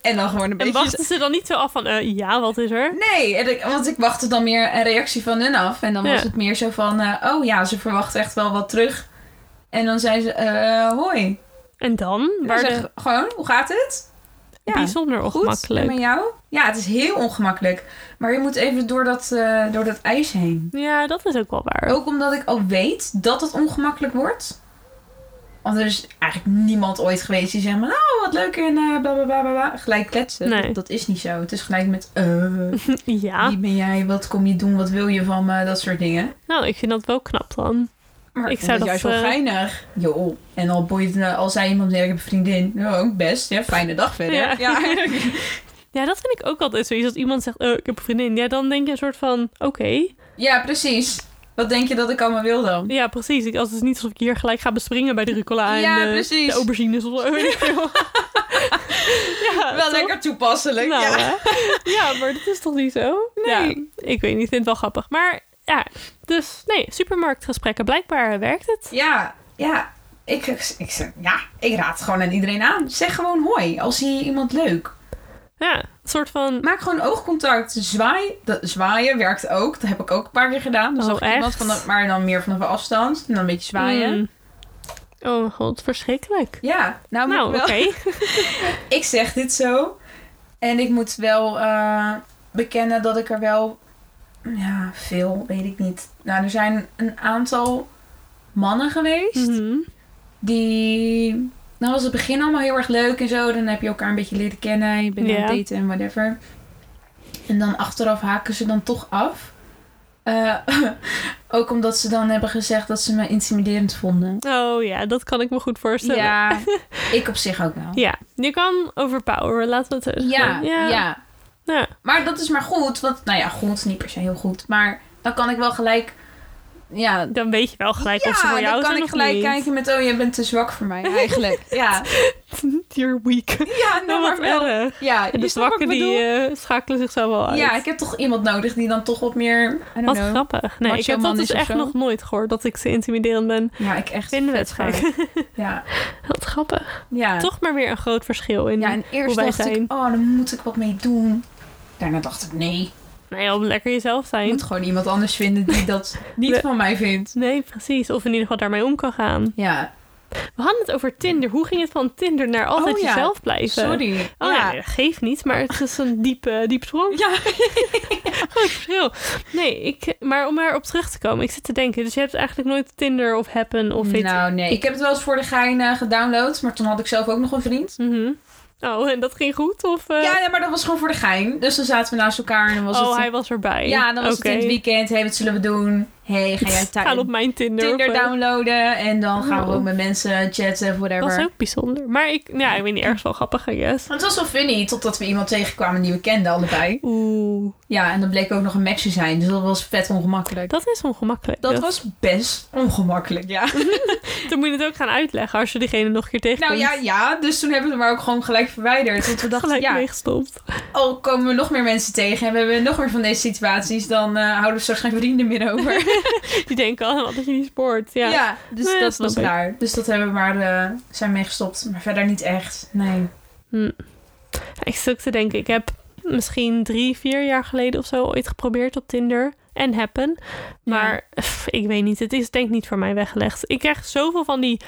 S1: En dan gewoon een
S2: en
S1: beetje...
S2: wachten ze dan niet zo af van, eh, ja, wat is er?
S1: Nee, en ik- want ik wachtte dan meer een reactie van hun af. En dan
S2: Ja.
S1: was het meer zo van, eh, oh ja, ze verwacht echt wel wat terug. En dan zei ze, eh, hoi.
S2: En dan?
S1: Maar
S2: Waar de...
S1: zeg, gewoon, hoe gaat het?
S2: Bijzonder
S1: goed. En
S2: ongemakkelijk.
S1: met jou? Ja, het is heel ongemakkelijk. Maar je moet even door dat, eh, door dat ijs heen.
S2: Ja, dat is ook wel waar.
S1: Ook omdat ik al weet dat het ongemakkelijk wordt. Want er is eigenlijk niemand ooit geweest die zegt... maar, Oh, wat leuk en eh bla, bla, bla, bla, bla. Gelijk kletsen.
S2: Nee.
S1: Dat, dat is niet zo. Het is gelijk met... eh,
S2: Ja.
S1: Wie ben jij? Wat kom je doen? Wat wil je van me? Dat soort dingen.
S2: Nou, ik vind dat wel knap dan.
S1: Maar
S2: Ik
S1: ik
S2: zou
S1: zou juist
S2: dat,
S1: wel
S2: eh,
S1: geinig. Joh. En al, boeit, het nou- al zei iemand... Ja, ik heb een vriendin. Nou, ook best. Ja, fijne dag verder.
S2: Ja.
S1: Ja.
S2: Ja, dat vind ik ook altijd zoiets. Als iemand zegt, eh, ik heb een vriendin. Ja, dan denk je een soort van, oké.
S1: Ja, precies. Wat denk je dat ik allemaal wil dan?
S2: Ja, precies. Ik, als het is niet alsof ik hier gelijk ga bespringen bij de rucola
S1: Ja,
S2: en eh,
S1: precies.
S2: de aubergines of zo. weet ik veel. ja,
S1: wel
S2: toch?
S1: lekker toepasselijk.
S2: Nou,
S1: ja.
S2: hè? ja, maar dat is toch niet zo? Ja,
S1: Nee.
S2: ik weet niet, ik vind het wel grappig. Maar ja, dus nee, supermarktgesprekken, blijkbaar werkt het.
S1: Ja, ja. ik, ik zeg, ja, ik raad het gewoon aan iedereen aan. Zeg gewoon hoi, als zie je iemand leuk.
S2: Ja, een soort van...
S1: Maak gewoon oogcontact. Zwaai. Dat, zwaaien werkt ook. Dat heb ik ook een paar keer gedaan. Dan
S2: Oh,
S1: zag ik iemand
S2: echt?
S1: van de- maar dan meer vanaf een afstand. En dan een beetje zwaaien.
S2: Mm. Oh mijn god, verschrikkelijk.
S1: Ja, nou, moet
S2: nou,
S1: ik
S2: oké.
S1: wel. Ik zeg dit zo. En ik moet wel eh, bekennen dat ik er wel... Ja, veel, weet ik niet. Nou, er zijn een aantal mannen geweest.
S2: Mhm.
S1: Die... Nou was het begin allemaal heel erg leuk en zo. Dan heb je elkaar een beetje leren kennen. Je bent
S2: Ja.
S1: aan het daten en whatever. En dan achteraf haken ze dan toch af. Eh, ook omdat ze dan hebben gezegd dat ze me intimiderend vonden.
S2: Oh ja, dat kan ik me goed voorstellen.
S1: Ja, ik op zich ook wel.
S2: Ja, je kan overpoweren, laten we het zo
S1: Ja,
S2: zeggen.
S1: ja,
S2: Ja.
S1: Maar dat is maar goed. Want, nou ja, goed, niet per se heel goed. Maar dan kan ik wel gelijk... Ja,
S2: Dan weet je wel gelijk of ze voor
S1: ja dan
S2: jou zijn
S1: kan ik
S2: of
S1: gelijk
S2: niet.
S1: kijken met... Oh, je bent te zwak voor mij eigenlijk. ja,
S2: You're weak.
S1: ja nou
S2: Nou, wat
S1: maar wel.
S2: erg.
S1: Ja,
S2: En
S1: je
S2: de
S1: snapt wat ik
S2: zwakken die
S1: bedoel.
S2: eh, schakelen zichzelf wel uit.
S1: Ja, ik heb toch iemand nodig die dan toch wat meer. I don't
S2: Wat
S1: know.
S2: grappig. Nee,
S1: Macho
S2: ik heb dat
S1: man
S2: dus
S1: is of
S2: echt
S1: zo.
S2: nog nooit gehoord dat ik ze intimiderend ben.
S1: Ja, ik echt.
S2: Vinden we het
S1: vet
S2: gek.
S1: Ja,
S2: Wat grappig.
S1: ja.
S2: Toch maar weer een groot verschil in...
S1: Ja, en
S2: hoe
S1: eerst
S2: wij
S1: dacht
S2: zijn.
S1: ik, oh, daar moet ik wat mee doen. Daarna dacht ik, nee,
S2: Nee, nou om lekker jezelf
S1: ik
S2: zijn.
S1: moet gewoon iemand anders vinden die dat niet
S2: Nee.
S1: van mij vindt.
S2: Nee, precies. Of in ieder geval daarmee om kan gaan.
S1: Ja,
S2: We hadden het over Tinder. Hoe ging het van Tinder naar altijd
S1: Oh ja,
S2: jezelf blijven?
S1: sorry.
S2: Oh ja,
S1: ja.
S2: nee, dat geeft niet, maar het is een diepe, diep sprong.
S1: Ja.
S2: Groot verschil. Nee, ik, maar om erop terug te komen, ik zit te denken. Dus je hebt eigenlijk nooit Tinder of Happen of weet
S1: nou, nee. Ik heb het wel eens voor de gein eh, gedownload, maar toen had ik zelf ook nog een vriend.
S2: Mhm. Oh, en dat ging goed? Of, eh,
S1: Ja, ja, maar dat was gewoon voor de gein. Dus dan zaten we naast elkaar en dan was
S2: oh,
S1: het...
S2: hij was erbij.
S1: Ja, dan was
S2: Oké.
S1: het in het weekend. Hé, hey, wat zullen we doen? Hé, hey, ga jij
S2: Gaan
S1: thuis
S2: op mijn Tinder.
S1: Tinder
S2: of, eh,
S1: downloaden? En dan gaan we
S2: Oh.
S1: ook met mensen chatten of whatever.
S2: Dat was ook bijzonder. Maar ik, ja, ik weet niet, ergens wel grappig, I guess.
S1: Het was wel funny, totdat we iemand tegenkwamen die we kenden allebei.
S2: Oeh,
S1: Ja, en dat bleek ook nog een match te zijn, dus dat was vet ongemakkelijk.
S2: dat is ongemakkelijk.
S1: Dat was best ongemakkelijk, ja.
S2: Dan moet je het ook gaan uitleggen als je diegene nog een keer tegenkomt.
S1: Nou ja, ja, dus toen hebben we hem maar ook gewoon gelijk verwijderd. Want we dachten,
S2: Gelijk
S1: ja,
S2: meegestopt.
S1: al komen we nog meer mensen tegen en we hebben nog meer van deze situaties, dan eh, houden we straks geen vrienden meer over.
S2: Die denken allemaal dat je niet sport.
S1: Ja,
S2: Ja.
S1: dus
S2: Nee,
S1: dat
S2: snap
S1: was
S2: ik.
S1: daar. Dus dat hebben we maar, eh, zijn mee gestopt. Maar verder niet echt, nee.
S2: Ik zit ook te denken, ik heb misschien drie, vier jaar geleden of zo ooit geprobeerd op Tinder en Happen. Maar pff, ik weet niet, het is denk ik niet voor mij weggelegd. Ik krijg zoveel van die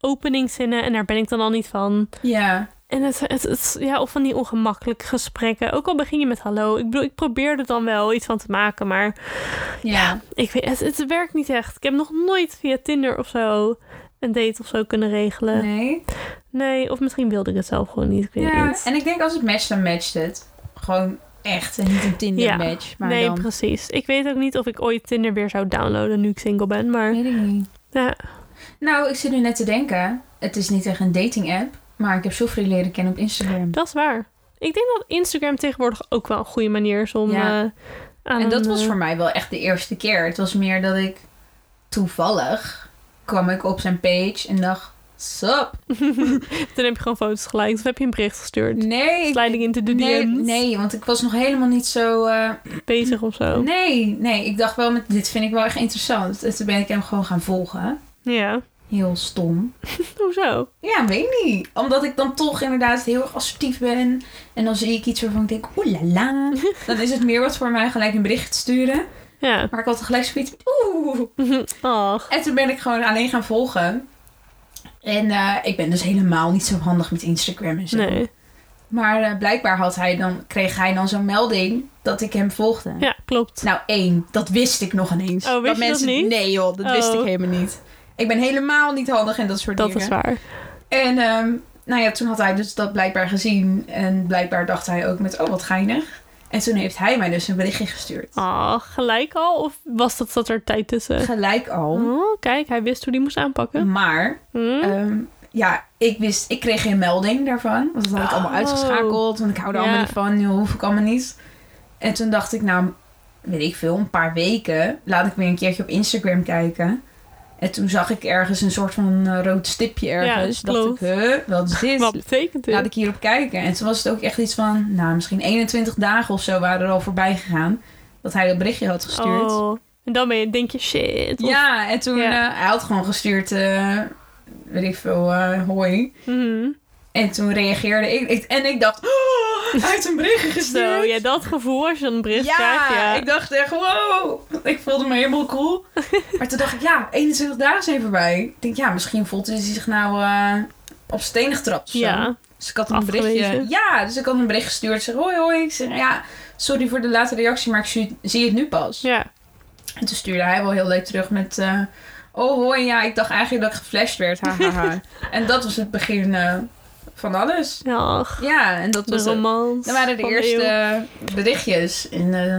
S2: openingszinnen en daar ben ik dan al niet van.
S1: Ja,
S2: En het, het, het- ja, of van die ongemakkelijke gesprekken. Ook al begin je met hallo. Ik bedoel, ik probeerde er dan wel iets van te maken, maar
S1: ja.
S2: ik weet, het, het werkt niet echt. Ik heb nog nooit via Tinder of zo een date of zo kunnen regelen. Nee,
S1: Nee.
S2: of misschien wilde ik het zelf gewoon niet. Ik weet
S1: Ja,
S2: niet.
S1: en ik denk als het matcht, dan matcht het. Gewoon echt, en niet een Tinder
S2: Ja.
S1: match. Maar
S2: nee,
S1: dan...
S2: precies. Ik weet ook niet of ik ooit Tinder weer zou downloaden nu ik single ben, maar
S1: Weet ik niet.
S2: ja.
S1: Nou, ik zit nu net te denken. Het is niet echt een dating app. Maar ik heb zoveel leren kennen op Instagram.
S2: dat is waar. Ik denk dat Instagram tegenwoordig ook wel een goede manier is om
S1: Ja.
S2: eh, aan
S1: En dat
S2: een,
S1: was
S2: eh,
S1: voor mij wel echt de eerste keer. Het was meer dat ik toevallig kwam ik op zijn page en dacht... Sup?
S2: Dan heb je gewoon foto's geliked of heb je een bericht gestuurd.
S1: Nee. ik-
S2: Sliding into the DM's.
S1: Nee, nee, want ik was nog helemaal niet zo... eh,
S2: Bezig of zo.
S1: Nee, nee. Ik dacht wel, met, dit vind ik wel echt interessant. En toen ben ik hem gewoon gaan volgen.
S2: Ja.
S1: Heel stom.
S2: Hoezo?
S1: Ja, weet ik niet. Omdat ik dan toch inderdaad heel erg assertief ben. En dan zie ik iets waarvan ik denk, oeh la la. Dan is het meer wat voor mij gelijk een bericht te sturen.
S2: Ja.
S1: Maar ik had gelijk zoiets, oeh.
S2: Och.
S1: En toen ben ik gewoon alleen gaan volgen. En eh, ik ben dus helemaal niet zo handig met Instagram en zo.
S2: Nee.
S1: Maar eh, blijkbaar had hij dan, kreeg hij dan zo'n melding dat ik hem volgde.
S2: Ja, klopt.
S1: Nou, één, dat wist ik nog ineens.
S2: Oh, wist je dat niet?
S1: Nee joh, dat wist
S2: Oh.
S1: ik helemaal niet. Ik ben helemaal niet handig in dat soort
S2: dat
S1: dingen.
S2: is waar.
S1: En ehm, nou ja, toen had hij dus dat blijkbaar gezien. En blijkbaar dacht hij ook met, oh wat geinig. En toen heeft hij mij dus een berichtje gestuurd.
S2: Ah, gelijk al? Of was dat, dat er tijd tussen?
S1: Gelijk al.
S2: Oh, kijk, hij wist hoe die moest aanpakken.
S1: Maar,
S2: Hm?
S1: ehm, ja, ik wist, ik kreeg geen melding daarvan. Want dat had ik allemaal
S2: Oh.
S1: uitgeschakeld. Want ik hou er
S2: Ja.
S1: allemaal niet van. Dat hoef ik allemaal niet. En toen dacht ik, nou, weet ik veel, een paar weken. Laat ik weer een keertje op Instagram kijken. En toen zag ik ergens een soort van eh, rood stipje ergens. dacht
S2: klopt.
S1: ik, huh, wat Eh, is Nou, dit?
S2: Wat betekent dit?
S1: laat ik hierop kijken. En toen was het ook echt iets van, nou, misschien 21 dagen of zo waren er al voorbij gegaan. Dat hij dat berichtje had gestuurd.
S2: Oh. En dan ben je, denk je, shit. of-
S1: ja, en toen,
S2: Ja.
S1: eh, hij had gewoon gestuurd, eh, weet ik veel, eh, hooi.
S2: Mhm.
S1: En toen reageerde ik, ik- en ik dacht, oh, uit een bericht gestuurd.
S2: Zo, ja, dat gevoel als je dan een bericht
S1: ja,
S2: krijgt. Ja,
S1: ik dacht echt, wow. Ik voelde me helemaal cool. maar toen dacht ik, ja, 21 dagen zijn voorbij. Ik denk, ja, misschien voelt hij zich nou eh, op stenen getrapt of zo.
S2: ja.
S1: Dus ik had een berichtje.
S2: Afgewezen.
S1: Ja, dus ik had een bericht gestuurd. Ik zeg, hoi, hoi. Ik zeg, ja, sorry voor de late reactie, maar ik zie, zie het nu pas.
S2: ja.
S1: En toen stuurde hij wel heel leuk terug met... eh, oh, hoi, ja, ik dacht eigenlijk dat ik geflasht werd. Hahaha. en dat was het begin eh, van alles.
S2: Ach,
S1: Ja, en dat
S2: de
S1: was het.
S2: romans.
S1: Dat waren de
S2: van
S1: eerste
S2: eeuw.
S1: berichtjes. En, eh,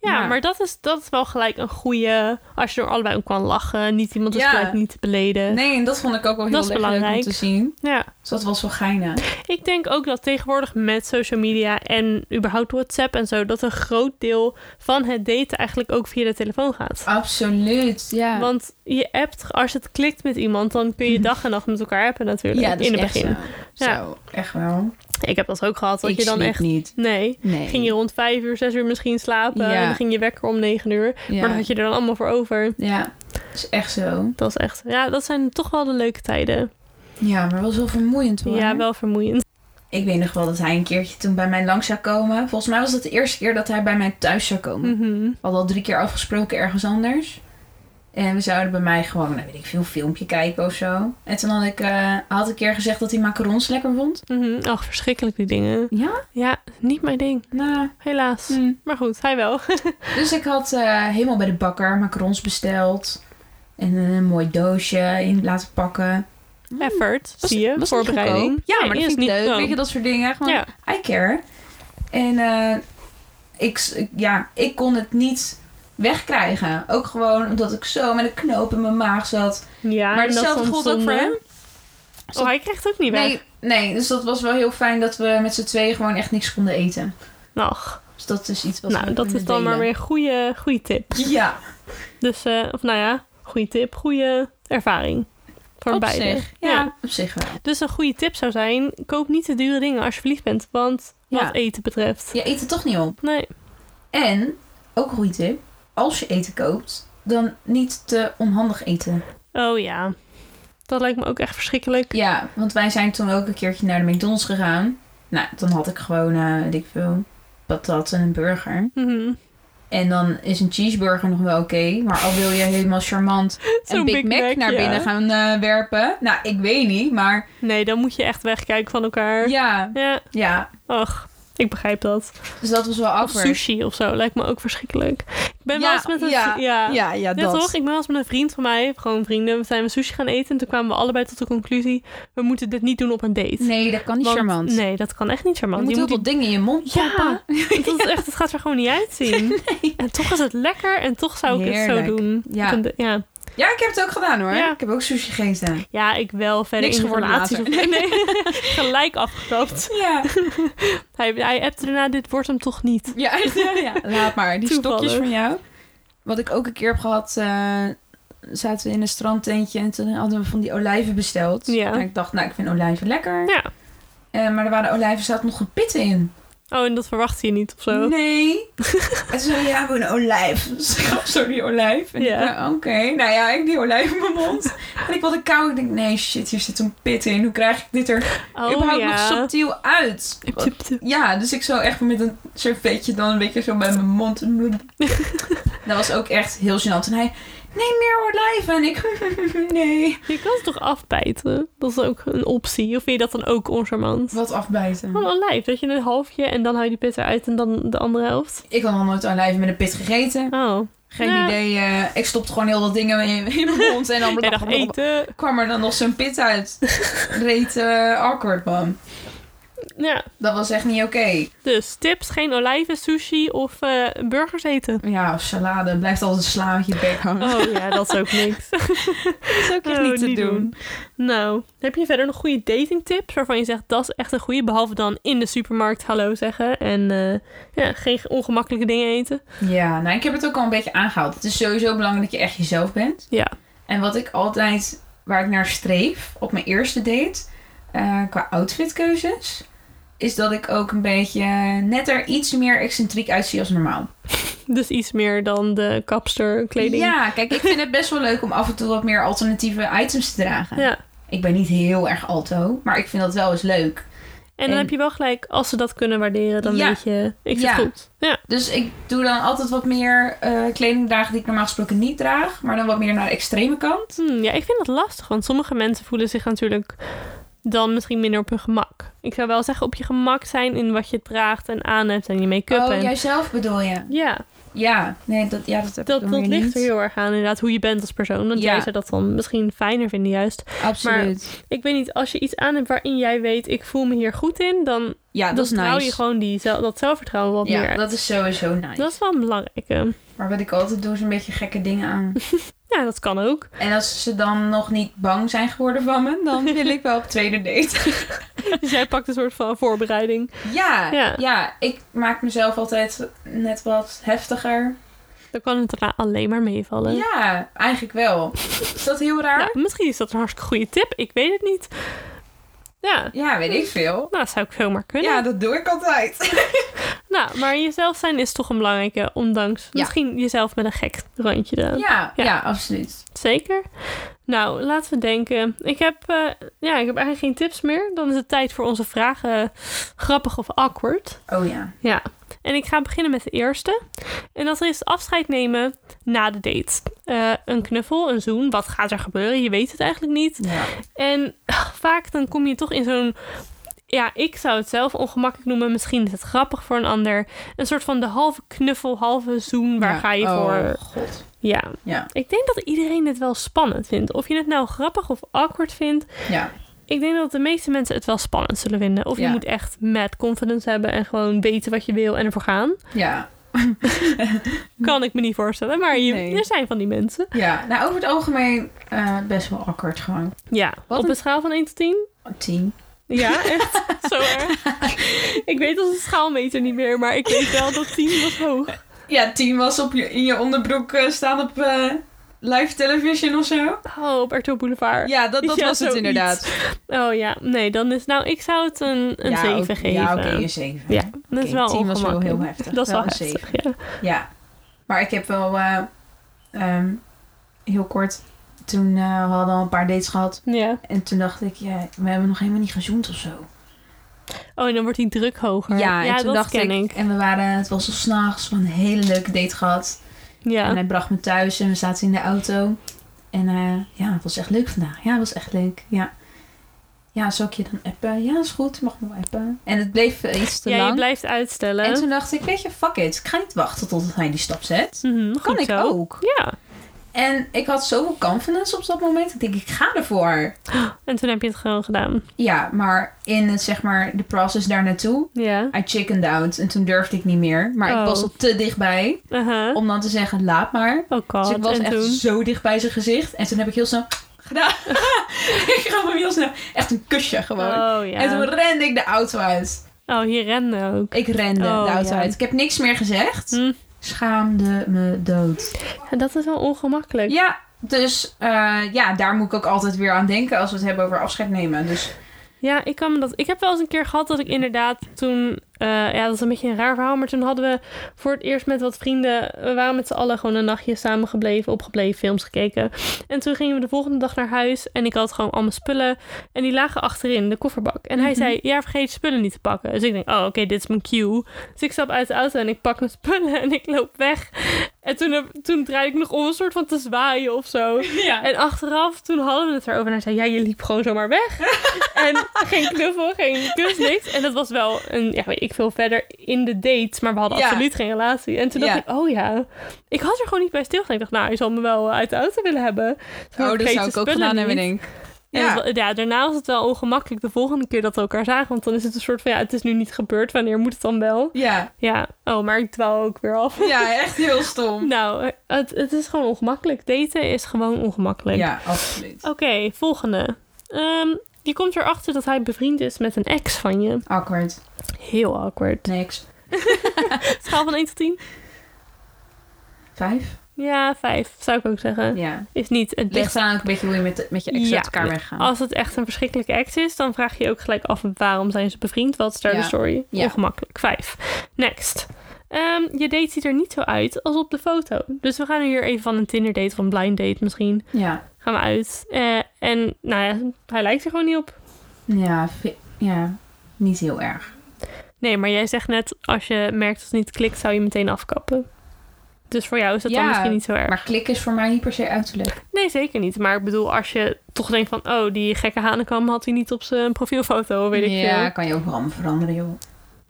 S2: Ja,
S1: ja.
S2: maar dat is, dat is wel gelijk een goede. Als je er allebei om kan lachen. Niet iemand is
S1: Ja.
S2: gelijk niet te beleden.
S1: nee, en dat vond ik ook wel heel
S2: Dat is
S1: leuk om
S2: belangrijk.
S1: te zien.
S2: Ja.
S1: Dus dat was wel geinig.
S2: Ik denk ook dat tegenwoordig met social media en überhaupt WhatsApp en zo, dat een groot deel van het daten eigenlijk ook via de telefoon gaat.
S1: Absoluut, ja.
S2: Want je appt, als het klikt met iemand, dan kun je dag en nacht met elkaar appen natuurlijk.
S1: ja, dat
S2: in
S1: is
S2: het
S1: echt
S2: begin.
S1: zo.
S2: Ja.
S1: Zo, echt wel.
S2: Ik heb dat ook gehad, dat
S1: ik
S2: je dan
S1: sliep
S2: echt...
S1: niet.
S2: Nee.
S1: Nee.
S2: Ging je rond vijf uur, zes uur misschien slapen.
S1: Ja.
S2: En dan ging je wekker om negen uur.
S1: ja.
S2: Maar dan had je er dan allemaal voor over.
S1: Ja, dat is echt zo.
S2: Dat is echt... Ja, dat zijn toch wel de leuke tijden.
S1: Ja, maar wel zo vermoeiend hoor.
S2: Ja, wel vermoeiend.
S1: Ik weet nog wel dat hij een keertje toen bij mij langs zou komen. Volgens mij was dat de eerste keer dat hij bij mij thuis zou komen.
S2: Mhm.
S1: We hadden al drie keer afgesproken ergens anders. En we zouden bij mij gewoon, nou weet ik veel, een filmpje kijken of zo. En toen had ik, eh, had een keer gezegd dat hij macarons lekker vond.
S2: Mhm. Ach, verschrikkelijk die dingen.
S1: Ja?
S2: Ja, niet mijn ding.
S1: Nou,
S2: Helaas.
S1: hm.
S2: Maar goed, hij wel.
S1: Dus ik had eh, helemaal bij de bakker macarons besteld. En een mooi doosje in laten pakken.
S2: Effort,
S1: Was-
S2: zie je.
S1: was niet
S2: Voorbereiding.
S1: goedkoop. Ja,
S2: Nee,
S1: maar dat
S2: is
S1: vind ik leuk.
S2: goedkoop.
S1: Weet je, dat soort dingen. Gewoon,
S2: Ja.
S1: I care. En eh, ik, s- ik- ja, ik kon het niet wegkrijgen. Ook gewoon omdat ik zo met een knoop in mijn maag zat.
S2: ja,
S1: maar
S2: en dat
S1: hetzelfde
S2: dan
S1: gold ook voor
S2: zonde.
S1: hem.
S2: Oh, hij krijgt ook niet weg.
S1: Nee, nee, dus dat was wel heel fijn dat we met z'n tweeën gewoon echt niks konden eten.
S2: Ach,
S1: Dus dat is iets wat we
S2: nou, dat
S1: kunnen
S2: is dan maar
S1: delen.
S2: weer een goede, goede tip.
S1: Ja,
S2: Dus, eh, of nou ja, goede tip, goede ervaring. Voor
S1: op
S2: beide.
S1: zich. Ja,
S2: Ja.
S1: op zich wel.
S2: Dus een goede tip zou zijn: koop niet te dure dingen als je verliefd bent. Want wat
S1: Ja.
S2: eten betreft.
S1: Je eet het toch niet op.
S2: Nee.
S1: En, ook een goede tip, als je eten koopt, dan niet te onhandig eten.
S2: Oh ja. Dat lijkt me ook echt verschrikkelijk.
S1: Ja, want wij zijn toen ook een keertje naar de McDonald's gegaan. Nou, dan had ik gewoon, eh weet ik veel, patat en een burger.
S2: Mhm.
S1: En dan is een cheeseburger nog wel oké. maar al wil je helemaal charmant een
S2: Zo'n
S1: Big, Mac, naar
S2: ja.
S1: binnen gaan eh, werpen. Nou, ik weet niet, maar
S2: Nee, dan moet je echt wegkijken van elkaar.
S1: ja.
S2: Ja.
S1: Ja,
S2: Ach, ik begrijp dat.
S1: dus dat was wel
S2: Of
S1: awkward.
S2: sushi of zo lijkt me ook verschrikkelijk. Ik ben wel
S1: Ja,
S2: eens met een.
S1: ja,
S2: ja.
S1: Ja, ja,
S2: Ja, toch? Ik ben wel eens met een vriend van mij, gewoon vrienden, zijn we sushi gaan eten. En toen kwamen we allebei tot de conclusie, we moeten dit niet doen op een date.
S1: Nee, dat kan niet
S2: Want-
S1: charmant.
S2: Nee, dat kan echt niet
S1: Je
S2: charmant.
S1: moet
S2: Je
S1: heel
S2: moet
S1: veel dingen in je mond
S2: Ja,
S1: proppen.
S2: dat is echt, het gaat er gewoon niet uitzien. En toch is het lekker en toch zou ik het zo
S1: Heerlijk.
S2: doen.
S1: Ja.
S2: Op een da- ja.
S1: Ja, ik heb het ook gedaan hoor.
S2: Ja.
S1: Ik heb ook sushi gegeten.
S2: ja, ik wel verder
S1: Niks
S2: in
S1: geworden
S2: relaties.
S1: later.
S2: of- Nee, gelijk afgekapt.
S1: Ja,
S2: Hij, hij appte daarna, dit wordt hem toch niet.
S1: ja, echt, ja, ja. Laat maar, die
S2: Toevallig.
S1: stokjes van jou. Wat ik ook een keer heb gehad, eh, zaten we in een strandtentje en toen hadden we van die olijven besteld.
S2: Ja.
S1: En ik dacht, nou, ik vind olijven lekker.
S2: Ja.
S1: Eh, maar er waren olijven, zaten nog wat pitten in.
S2: Oh, en dat verwachtte je niet of zo.
S1: Nee. en toen zei hij, ja, we hebben een olijf. Dus ik gaf zo die olijf. En
S2: Ja.
S1: ik dacht, oké. Nou ja, ik die olijf in mijn mond. en ik wilde kou. Ik denk, nee, shit, hier zit een pit in. Hoe krijg ik dit er
S2: Oh
S1: überhaupt
S2: ja.
S1: nog subtiel uit?
S2: Tip, tip, tip.
S1: Ja, dus ik zo echt met een servetje dan een beetje zo bij mijn mond. dat was ook echt heel gênant. En hij, nee, meer olijven. En ik, nee.
S2: Je kan het toch afbijten? Dat is ook een optie. Of vind je dat dan ook oncharmant?
S1: Wat
S2: Gewoon
S1: afbijten.
S2: olijf. Dat je een halfje en dan hou je die pit eruit en dan de andere helft.
S1: Ik had nog nooit olijven met een pit gegeten.
S2: Oh.
S1: Geen
S2: Ja.
S1: idee. eh, ik stopte gewoon heel dat ding in, in mijn mond. En dan
S2: Jij dacht eten.
S1: kwam er dan nog zo'n pit uit. Reet eh, awkward, man.
S2: Ja.
S1: Dat was echt niet oké.
S2: Dus tips: geen olijven, sushi of eh, burgers eten.
S1: Ja, of salade blijft altijd slaan met je bek hangen.
S2: Oh ja, dat is ook niks.
S1: Dat is ook echt
S2: Oh,
S1: niet te doen.
S2: Nou, heb je verder nog goede datingtips waarvan je zegt dat is echt een goede? Behalve dan in de supermarkt hallo zeggen en eh, ja, geen ongemakkelijke dingen eten.
S1: Ja, nou, ik heb het ook al een beetje aangehaald. Het is sowieso belangrijk dat je echt jezelf bent.
S2: Ja.
S1: En wat ik altijd, waar ik naar streef op mijn eerste date, eh, qua outfitkeuzes, is dat ik ook een beetje net er iets meer excentriek uitzie als normaal.
S2: Dus iets meer dan de kapster kleding.
S1: Ja, kijk, ik vind het best wel leuk om af en toe wat meer alternatieve items te dragen.
S2: Ja.
S1: Ik ben niet heel erg alto, maar ik vind dat wel eens leuk.
S2: En dan
S1: En-
S2: heb je wel gelijk, als ze dat kunnen waarderen, dan
S1: Ja.
S2: weet je, ik zit
S1: Ja.
S2: goed. Ja.
S1: Dus ik doe dan altijd wat meer eh, kleding dragen die ik normaal gesproken niet draag. Maar dan wat meer naar de extreme kant.
S2: Hm, ja, ik vind dat lastig, want sommige mensen voelen zich natuurlijk dan misschien minder op hun gemak. Ik zou wel zeggen op je gemak zijn in wat je draagt en aan hebt en je make-up.
S1: Oh,
S2: en...
S1: jijzelf bedoel je?
S2: Ja,
S1: Ja, nee, dat, ja, dat heb
S2: dat,
S1: ik dan weer
S2: dat ligt
S1: niet.
S2: er heel erg aan inderdaad hoe je bent als persoon. Want
S1: Ja.
S2: jij zou dat dan misschien fijner vinden juist.
S1: Absoluut.
S2: Ik weet niet, als je iets aan hebt waarin jij weet, ik voel me hier goed in, dan,
S1: ja,
S2: dan
S1: dat is
S2: straal
S1: nice.
S2: je gewoon die, zel- dat zelfvertrouwen wat meer.
S1: ja,
S2: uit.
S1: dat is sowieso nice.
S2: dat is wel een belangrijke.
S1: Maar wat ik altijd doe is een beetje gekke dingen aan.
S2: Ja, dat kan ook.
S1: En als ze dan nog niet bang zijn geworden van me, dan wil ik wel op tweede date.
S2: Dus jij pakt een soort van voorbereiding.
S1: ja,
S2: Ja.
S1: ja. ik maak mezelf altijd net wat heftiger.
S2: Dan kan het daarna alleen maar meevallen.
S1: Ja, eigenlijk wel. Is dat heel raar?
S2: Nou, misschien is dat een hartstikke goede tip. Ik weet het niet. Ja, nou,
S1: Ja, weet ik veel.
S2: dat zou ik zomaar kunnen.
S1: Ja, dat doe ik altijd.
S2: Nou, maar jezelf zijn is toch een belangrijke, ondanks
S1: Ja.
S2: misschien jezelf met een gek rondje dan.
S1: Ja,
S2: Ja.
S1: ja. absoluut.
S2: Zeker. Nou, laten we denken. Ik heb, eh, ja, ik heb eigenlijk geen tips meer. Dan is het tijd voor onze vragen grappig of awkward.
S1: Oh ja.
S2: Ja. En ik ga beginnen met de eerste. En dat is afscheid nemen na de date. Eh, een knuffel, een zoen. Wat gaat er gebeuren? Je weet het eigenlijk niet.
S1: ja.
S2: En ach, vaak dan kom je toch in zo'n... Ja, ik zou het zelf ongemakkelijk noemen. Misschien is het grappig voor een ander. Een soort van de halve knuffel, halve zoen. Waar
S1: Ja.
S2: ga je
S1: oh,
S2: voor?
S1: god.
S2: Ja.
S1: Ja,
S2: Ik denk dat iedereen dit wel spannend vindt. Of je het nou grappig of awkward vindt.
S1: ja.
S2: Ik denk dat de meeste mensen het wel spannend zullen vinden. Of je
S1: Ja.
S2: moet echt mad confidence hebben en gewoon weten wat je wil en ervoor gaan.
S1: Ja,
S2: Kan ik me niet voorstellen, maar je,
S1: Hm. Nee.
S2: er zijn van die mensen.
S1: ja. Nou, over het algemeen eh, best wel awkward gewoon.
S2: Ja,
S1: Wat
S2: op
S1: een-
S2: een schaal van 1 tot 10.
S1: Tien.
S2: Ja, echt. Zo erg. Ik weet onze schaalmeter niet meer, maar ik weet wel dat 10 was hoog.
S1: Ja, tien was op je, in je onderbroek eh, staan op eh, live television of zo.
S2: Oh, op RTL Boulevard.
S1: Ja, dat,
S2: Ja, zoiets. Oh ja, nee, dan is... Nou, ik zou het een, een
S1: ja,
S2: 7
S1: ook-
S2: geven.
S1: Ja, oké, een 7.
S2: Ja, dat is
S1: Oké,
S2: wel
S1: tien was wel
S2: ongemakkelijk.
S1: heel heftig.
S2: Dat is wel,
S1: Wel een
S2: heftig, ja.
S1: Ja. Maar ik heb wel eh, ehm, heel kort, toen eh, we hadden al een paar dates gehad.
S2: Ja.
S1: En toen dacht ik, ja, we hebben nog helemaal niet gezoend of zo.
S2: Oh, en dan wordt die druk hoger.
S1: en toen
S2: dat
S1: dacht
S2: ken ik.
S1: En we waren, het was al s'nachts, we hadden een hele leuke date gehad. En
S2: Ja.
S1: hij bracht me thuis en we zaten in de auto. En eh, ja, het was echt leuk vandaag. Ja, het was echt leuk. Ja. Ja, zal ik je dan appen? Ja, is goed. Je mag me wel appen. En het bleef eh, iets te
S2: ja, je
S1: lang.
S2: blijft uitstellen.
S1: En toen dacht ik, weet je, fuck it. Ik ga niet wachten tot hij die stap zet.
S2: Mhm,
S1: Kan
S2: goed
S1: ik
S2: zo.
S1: ook.
S2: Ja.
S1: En ik had zoveel confidence op dat moment. Ik denk, ik ga ervoor.
S2: En toen heb je het gewoon gedaan.
S1: Ja, maar in het, zeg maar, de process daar naartoe.
S2: Ja.
S1: I chickened out. En toen durfde ik niet meer. Maar
S2: Oh.
S1: ik was al te dichtbij
S2: Aha.
S1: om dan te zeggen, laat maar.
S2: Oh god.
S1: Dus ik was
S2: en
S1: echt
S2: toen?
S1: zo dicht bij zijn gezicht. En toen heb ik heel snel gedaan. ik gaf hem heel snel echt een kusje gewoon.
S2: Oh ja.
S1: En toen rende ik de auto uit.
S2: Oh, hier rende ook.
S1: Ik rende
S2: Oh,
S1: de auto
S2: ja.
S1: uit. Ik heb niks meer gezegd.
S2: Hm.
S1: Schaamde me dood.
S2: En dat is wel ongemakkelijk.
S1: Ja, dus eh, ja, daar moet ik ook altijd weer aan denken als we het hebben over afscheid nemen. Dus
S2: Ja, ik kan me dat. Ik heb wel eens een keer gehad dat ik inderdaad toen. eh, ja, dat is een beetje een raar verhaal. Maar toen hadden we voor het eerst met wat vrienden. We waren met z'n allen gewoon een nachtje samengebleven, opgebleven, films gekeken. En toen gingen we de volgende dag naar huis. En ik had gewoon al mijn spullen. En die lagen achterin, de kofferbak. En hij zei: Ja, vergeet je spullen niet te pakken. Dus ik denk: Oh, oké, dit is mijn cue. Dus ik stap uit de auto en ik pak mijn spullen en ik loop weg. En toen, heb- toen draaide ik nog om een soort van te zwaaien of zo. En achteraf, toen hadden we het erover. En hij zei, ja, je liep gewoon zomaar weg. en geen knuffel, geen kus, niks. En dat was wel een, ja, weet ik veel verder in de date. Maar we hadden
S1: Ja.
S2: absoluut geen relatie. En toen dacht
S1: Ja.
S2: ik, oh ja. Ik had er gewoon niet bij stilgestaan. Ik dacht, nou, je zal me wel eh, uit de auto willen hebben.
S1: Oh,
S2: Toen vergeet je spullen niet.
S1: denk ik.
S2: En
S1: Ja.
S2: dat wa- ja, daarna was het wel ongemakkelijk de volgende keer dat we elkaar zagen. Want dan is het een soort van, ja, het is nu niet gebeurd. Wanneer moet het dan wel?
S1: Ja,
S2: Ja, oh, maar ik dwaal ook weer af.
S1: ja, echt heel stom.
S2: Nou, het, het is gewoon ongemakkelijk. Daten is gewoon ongemakkelijk.
S1: Ja, absoluut.
S2: Oké, volgende. Ehm, je komt erachter dat hij bevriend is met een ex van je.
S1: Awkward.
S2: Heel awkward.
S1: Niks.
S2: Schaal van 1 tot 10?
S1: Vijf?
S2: Ja, 5 zou ik ook zeggen.
S1: Ja.
S2: Is niet Eh, het
S1: Ligt
S2: beste.
S1: aan ook een beetje hoe je met, met je ex
S2: Ja.
S1: uit elkaar weggaat.
S2: Als het echt een verschrikkelijke ex is, dan vraag je je ook gelijk af waarom zijn ze bevriend? Wat is daar
S1: Ja.
S2: de story?
S1: Ja.
S2: Ongemakkelijk. 5. Next. Ehm, je date ziet er niet zo uit als op de foto. Dus we gaan hier even van een Tinder date of een blind date misschien.
S1: Ja.
S2: gaan we uit. Eh, En nou ja, hij lijkt er gewoon niet op.
S1: Ja, vi- ja, niet heel erg.
S2: Nee, maar jij zegt net, als je merkt dat het niet klikt, zou je meteen afkappen. Dus voor jou is dat dan
S1: Ja,
S2: misschien niet zo erg.
S1: Maar klik is voor mij niet per se uiterlijk.
S2: Nee, zeker niet. Maar ik bedoel, als je toch denkt van... oh, die gekke hanenkam had hij niet op zijn profielfoto, weet ik
S1: ja, kan je ook wel veranderen, joh.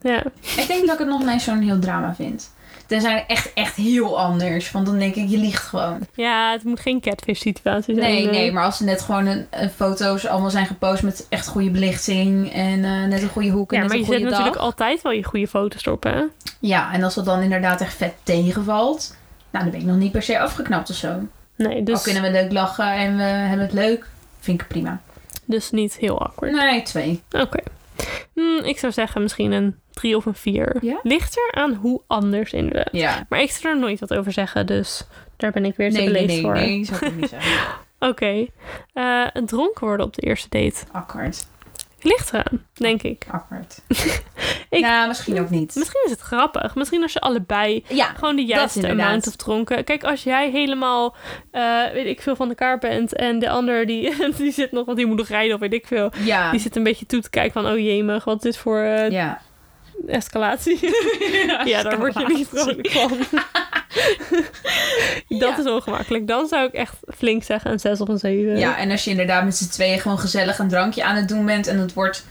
S2: veel. Ja.
S1: Ik denk dat ik het nog niet zo'n heel drama vind. Tenzij het echt, echt heel anders. Want dan denk ik, je liegt gewoon.
S2: ja, het moet geen catfish situatie zijn.
S1: Nee,
S2: eh.
S1: nee, maar als ze net gewoon een, een foto's allemaal zijn gepost met echt goede belichting en eh, net een goede hoek en
S2: Ja,
S1: net
S2: maar je
S1: een
S2: zet
S1: goede dag.
S2: natuurlijk altijd wel je goede foto's erop, hè?
S1: Ja, en als dat dan inderdaad echt vet tegenvalt, nou, dan ben ik nog niet per se afgeknapt of zo.
S2: Nee,
S1: Dus...
S2: dus,
S1: kunnen we leuk lachen en we hebben het leuk, vind ik prima.
S2: dus niet heel awkward.
S1: Nee, twee.
S2: Oké. Hm, ik zou zeggen misschien een drie of een vier.
S1: Ja?
S2: Ligt er aan hoe anders inderdaad.
S1: Ja.
S2: Maar ik zou er nooit wat over zeggen, dus daar ben ik weer te
S1: Nee, nee,
S2: beleefd
S1: nee,
S2: voor.
S1: nee, zou ik ook niet zeggen.
S2: Oké. Eh, dronken worden op de eerste date.
S1: Akkerd,
S2: Ligt eraan, denk ik.
S1: akkerd.
S2: Ik-
S1: Nou, misschien ook niet.
S2: Misschien is het grappig. Misschien als je allebei
S1: Ja,
S2: Gewoon de juiste
S1: inderdaad.
S2: amount of dronken. Kijk, als jij helemaal, eh, weet ik veel, van elkaar bent... en de ander, die, die zit nog, want die moet nog rijden of weet ik veel...
S1: ja,
S2: die zit een beetje toe te kijken van... oh jemig, wat is dit voor eh,
S1: ja.
S2: escalatie? ja, daar word je niet vrolijk van. Dat is ongemakkelijk. Dan zou ik echt flink zeggen een 6 of een 7.
S1: Ja, en als je inderdaad met z'n tweeën gewoon gezellig een drankje aan het doen bent en het wordt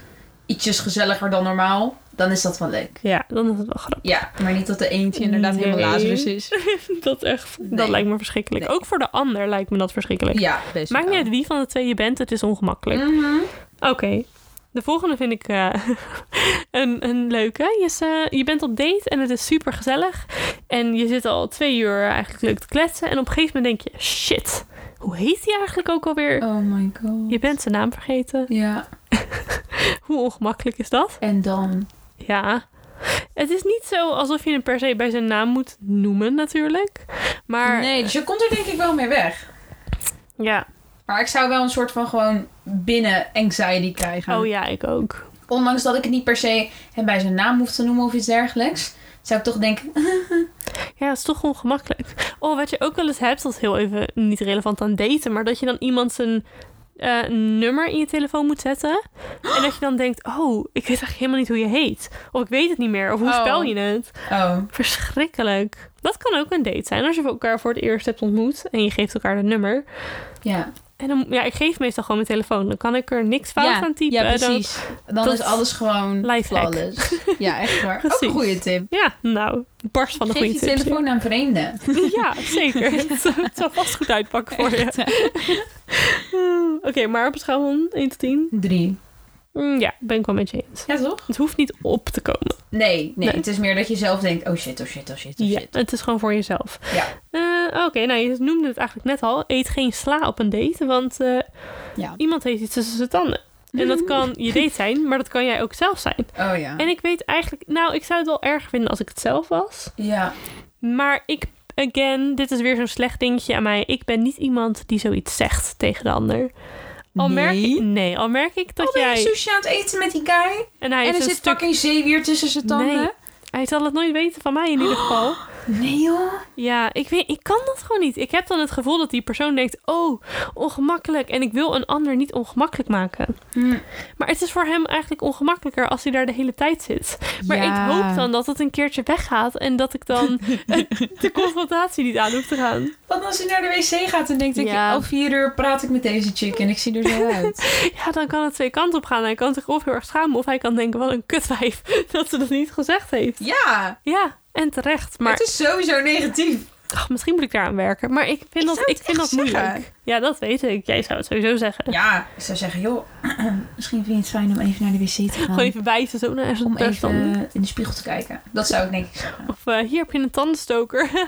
S1: ietsjes gezelliger dan normaal, dan is dat wel leuk.
S2: Ja, dan is het wel grappig.
S1: Ja, maar niet dat de eentje inderdaad helemaal
S2: Nee.
S1: lazarus is.
S2: Dat, echt, dat
S1: Nee.
S2: lijkt me verschrikkelijk.
S1: Nee.
S2: Ook voor de ander lijkt me dat verschrikkelijk.
S1: Ja, best
S2: Maakt niet
S1: wel.
S2: uit wie van de twee je bent, het is ongemakkelijk.
S1: Mhm.
S2: Oké. De volgende vind ik eh, een, een leuke. Je, is, eh, je bent op date en het is super gezellig. En je zit al twee uur eigenlijk leuk te kletsen. En op een gegeven moment denk je: shit, hoe heet die eigenlijk ook alweer?
S1: Oh my god.
S2: Je bent zijn naam vergeten.
S1: Ja,
S2: Hoe ongemakkelijk is dat?
S1: en dan?
S2: Ja. Het is niet zo alsof je hem per se bij zijn naam moet noemen, natuurlijk. Maar
S1: Nee, dus je komt er denk ik wel mee weg.
S2: ja.
S1: Maar ik zou wel een soort van gewoon binnen anxiety krijgen.
S2: Oh ja, ik ook.
S1: Ondanks dat ik het niet per se hem bij zijn naam hoef te noemen of iets dergelijks, zou ik toch denken,
S2: Ja, dat is toch ongemakkelijk. Oh, wat je ook wel eens hebt, dat is heel even niet relevant aan daten, maar dat je dan iemand zijn eh, nummer in je telefoon moet zetten. En dat je dan denkt, oh, ik weet eigenlijk helemaal niet hoe je heet. Of ik weet het niet meer, of hoe
S1: Oh.
S2: spel je het?
S1: oh,
S2: Verschrikkelijk. Dat kan ook een date zijn, als je elkaar voor het eerst hebt ontmoet en je geeft elkaar het nummer.
S1: ja.
S2: En dan, ja, ik geef meestal gewoon mijn telefoon, dan kan ik er niks fout
S1: ja,
S2: aan typen.
S1: Ja,
S2: Dan-
S1: precies. Dan,
S2: dat-
S1: is alles gewoon
S2: Lifehack.
S1: flawless. Ja, echt waar. Ook
S2: Precies.
S1: een goede tip.
S2: ja, nou, barst van de
S1: Geef
S2: goede
S1: je
S2: tips.
S1: telefoon aan vreemden.
S2: Ja, zeker. Het zou- het zou vast goed uitpakken voor je. Hmm, Oké, maar op een schaal van 1 tot 10?
S1: Drie.
S2: Mm, Ja, ben ik wel met je eens.
S1: Ja, toch?
S2: Het hoeft niet op te komen.
S1: Nee, nee,
S2: Nee.
S1: het is meer dat je zelf denkt, oh shit, oh shit, oh shit, oh
S2: Ja,
S1: shit.
S2: het is gewoon voor jezelf.
S1: Ja.
S2: Eh, Oké, nou, je noemde het eigenlijk net al. Eet geen sla op een date, want eh,
S1: Ja.
S2: iemand heeft iets tussen zijn tanden. En dat kan je date zijn, maar dat kan jij ook zelf zijn.
S1: Oh ja.
S2: En ik weet eigenlijk... Nou, ik zou het wel erg vinden als ik het zelf was.
S1: Ja,
S2: Maar ik... Again, dit is weer zo'n slecht dingetje aan mij. Ik ben niet iemand die zoiets zegt tegen de ander. Al merk
S1: Nee?
S2: ik, nee, al merk ik dat
S1: oh, ben je
S2: jij...
S1: sushi aan het eten met die guy?
S2: En hij
S1: en
S2: is
S1: er
S2: een
S1: zit
S2: stuk...
S1: fucking zeewier tussen zijn tanden?
S2: Hij zal het nooit weten van mij in
S1: Oh.
S2: ieder geval.
S1: Nee, joh.
S2: Ja, ik weet, ik kan dat gewoon niet. Ik heb dan het gevoel dat die persoon denkt, oh, ongemakkelijk. En ik wil een ander niet ongemakkelijk maken.
S1: Hm.
S2: Maar het is voor hem eigenlijk ongemakkelijker als hij daar de hele tijd zit. Maar
S1: Ja.
S2: ik hoop dan dat het een keertje weggaat en dat ik dan de confrontatie niet aan hoef te gaan.
S1: Want als hij naar de wc gaat, dan denk ik,
S2: Ja.
S1: al vier uur praat ik met deze chick en ik zie er zo uit.
S2: Ja, dan kan het twee kanten op gaan. Hij kan zich of heel erg schamen of hij kan denken, wat een kutwijf dat ze dat niet gezegd heeft.
S1: ja,
S2: Ja, en terecht. Maar
S1: het is sowieso negatief.
S2: Ach, misschien moet ik daaraan werken. Maar ik vind dat,
S1: zou
S2: ik
S1: het
S2: vind dat
S1: echt
S2: moeilijk.
S1: zeggen.
S2: Ja, dat weet ik. Jij zou het sowieso zeggen.
S1: Ja, ik zou zeggen, joh, misschien vind je het fijn om even naar de wc te gaan.
S2: Gewoon even wijzen zo naar zijn
S1: om
S2: tand.
S1: even in de spiegel te kijken. Dat zou ik denk ik zeggen.
S2: Of eh, hier heb je een tandenstoker.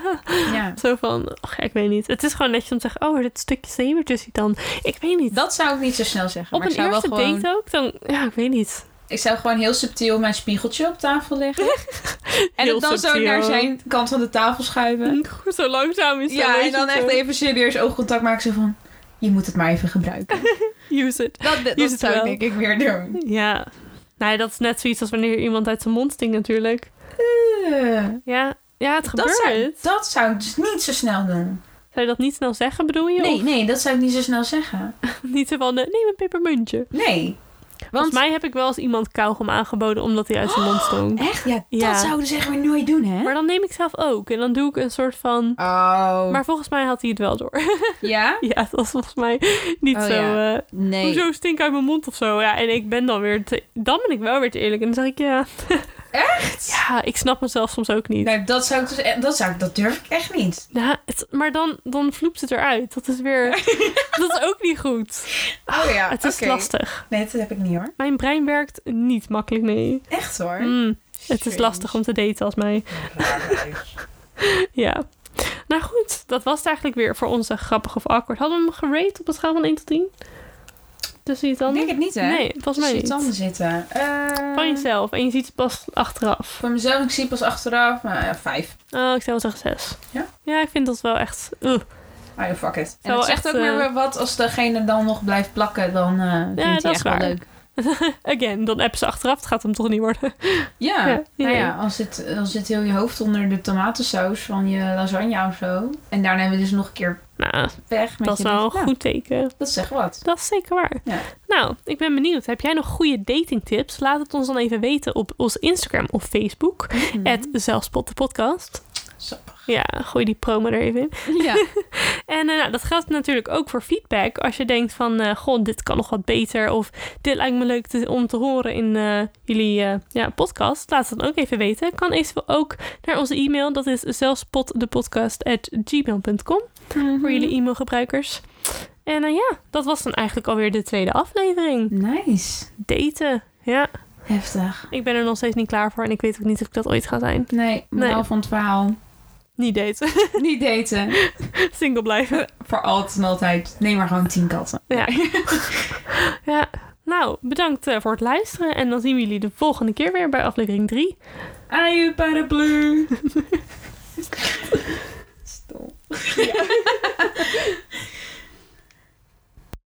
S1: Ja.
S2: zo van, ach, ik weet niet. Het is gewoon netjes om te zeggen, oh, er zit een stukje zeemer tussen die tand. Ik weet niet.
S1: Dat zou ik niet zo snel zeggen.
S2: Op
S1: maar
S2: een
S1: ik zou, wel
S2: eerste
S1: gewoon,
S2: date ook, dan, ja, ik weet niet.
S1: ik zou gewoon heel subtiel mijn spiegeltje op tafel leggen. en
S2: Heel
S1: het dan zo
S2: subtiel.
S1: naar zijn kant van de tafel schuiven.
S2: Goed, Zo langzaam is dat.
S1: Ja,
S2: weet
S1: en
S2: je
S1: dan
S2: het
S1: echt
S2: zo.
S1: even serieus oogcontact maken. Zo van, je moet het maar even gebruiken.
S2: Use it.
S1: Dat, dat,
S2: Use
S1: dat
S2: it
S1: zou ik
S2: well.
S1: denk ik weer doen.
S2: Ja. Nee, dat is net zoiets als wanneer iemand uit zijn mond stinkt natuurlijk.
S1: Eh,
S2: Ja, ja het
S1: dat,
S2: gebeurt.
S1: zou, dat zou ik dus niet zo snel doen.
S2: Zou je dat niet snel zeggen, bedoel je?
S1: Nee,
S2: Of
S1: nee, dat zou ik niet zo snel zeggen.
S2: niet zo van, eh, neem een pepermuntje.
S1: Nee. Want, Oh,
S2: Volgens mij heb ik wel eens iemand kauwgom aangeboden omdat hij uit zijn mond stond.
S1: echt? Ja, dat
S2: Ja.
S1: zouden ze echt weer nooit doen, hè?
S2: Maar dan neem ik zelf ook. En dan doe ik een soort van...
S1: Oh.
S2: Maar volgens mij had hij het wel door.
S1: ja?
S2: ja, dat was volgens mij niet
S1: Oh,
S2: zo...
S1: ja.
S2: eh,
S1: Nee.
S2: Hoezo stink uit mijn mond of zo? Ja, en ik ben dan weer... te- Dan ben ik wel weer te eerlijk. En dan zeg ik ja.
S1: Echt?
S2: Ja, ik snap mezelf soms ook niet.
S1: Nee, dat zou ik dus e- dat, zou, ik- dat durf ik echt niet.
S2: Ja, het- maar dan, dan vloept het eruit. Dat is weer... dat is ook niet goed.
S1: Oh ja,
S2: Ah, Het is
S1: oké.
S2: lastig.
S1: Nee, dat heb ik niet hoor.
S2: Mijn brein werkt niet makkelijk mee.
S1: Echt hoor.
S2: Mm, het is lastig om te daten als mij. Ja. Nou goed, dat was het eigenlijk weer voor onze grappig of awkward. Hadden we hem gerate op een schaal van 1 tot 10? Tussen je
S1: Ik
S2: tanden?
S1: denk het niet hè.
S2: Nee, volgens mij
S1: Tussen je
S2: niet.
S1: tanden zitten. Eh,
S2: Van jezelf. En je ziet het pas achteraf.
S1: Voor mezelf, ik zie pas achteraf, maar ja, vijf.
S2: Oh, ik zou wel zeggen 6.
S1: Ja?
S2: Ja, ik vind dat wel echt... Ugh.
S1: Ah, joh, fuck it. En
S2: Zou
S1: het
S2: wel
S1: zegt
S2: echt,
S1: ook weer
S2: eh,
S1: wat als degene dan nog blijft plakken, dan eh vindt hij
S2: dat is
S1: echt wel
S2: waar.
S1: leuk.
S2: Again, dan appen ze achteraf. Het gaat hem toch niet worden.
S1: Ja,
S2: Ja,
S1: nou
S2: ja.
S1: ja, als zit, dan zit heel je hoofd onder de tomatensaus van je lasagne of zo. En daarna hebben we dus nog een keer
S2: Nou,
S1: pech met
S2: dat is
S1: je
S2: wel een
S1: Ja,
S2: goed teken.
S1: Dat zegt wat.
S2: Dat is zeker waar.
S1: Ja.
S2: Nou, ik ben benieuwd. Heb jij nog goede datingtips? Laat het ons dan even weten op ons Instagram of Facebook. Het Zelfspot de
S1: Hmm,
S2: podcast.
S1: Sappig.
S2: Ja, gooi die promo er even in.
S1: Ja.
S2: En eh, nou, dat geldt natuurlijk ook voor feedback. Als je denkt van, eh goh, dit kan nog wat beter. Of dit lijkt me leuk te- om te horen in eh, jullie eh, ja, podcast. Laat het dan ook even weten. Kan eventueel ook naar onze e-mail. Dat is zelfspotdepodcast.gmail.com voor jullie e-mailgebruikers. En eh, ja, dat was dan eigenlijk alweer de tweede aflevering.
S1: Nice.
S2: Daten, ja.
S1: Heftig.
S2: Ik ben er nog steeds niet klaar voor. En ik weet ook niet of ik dat ooit ga zijn.
S1: Nee, moraal
S2: Nee.
S1: van het verhaal.
S2: Niet daten.
S1: Niet daten.
S2: Single blijven.
S1: Voor altijd en altijd. Neem maar gewoon tien katten.
S2: Ja. ja. Nou, bedankt eh, voor het luisteren. En dan zien we jullie de volgende keer weer bij aflevering 3.
S1: Aan je paraplu. Stom.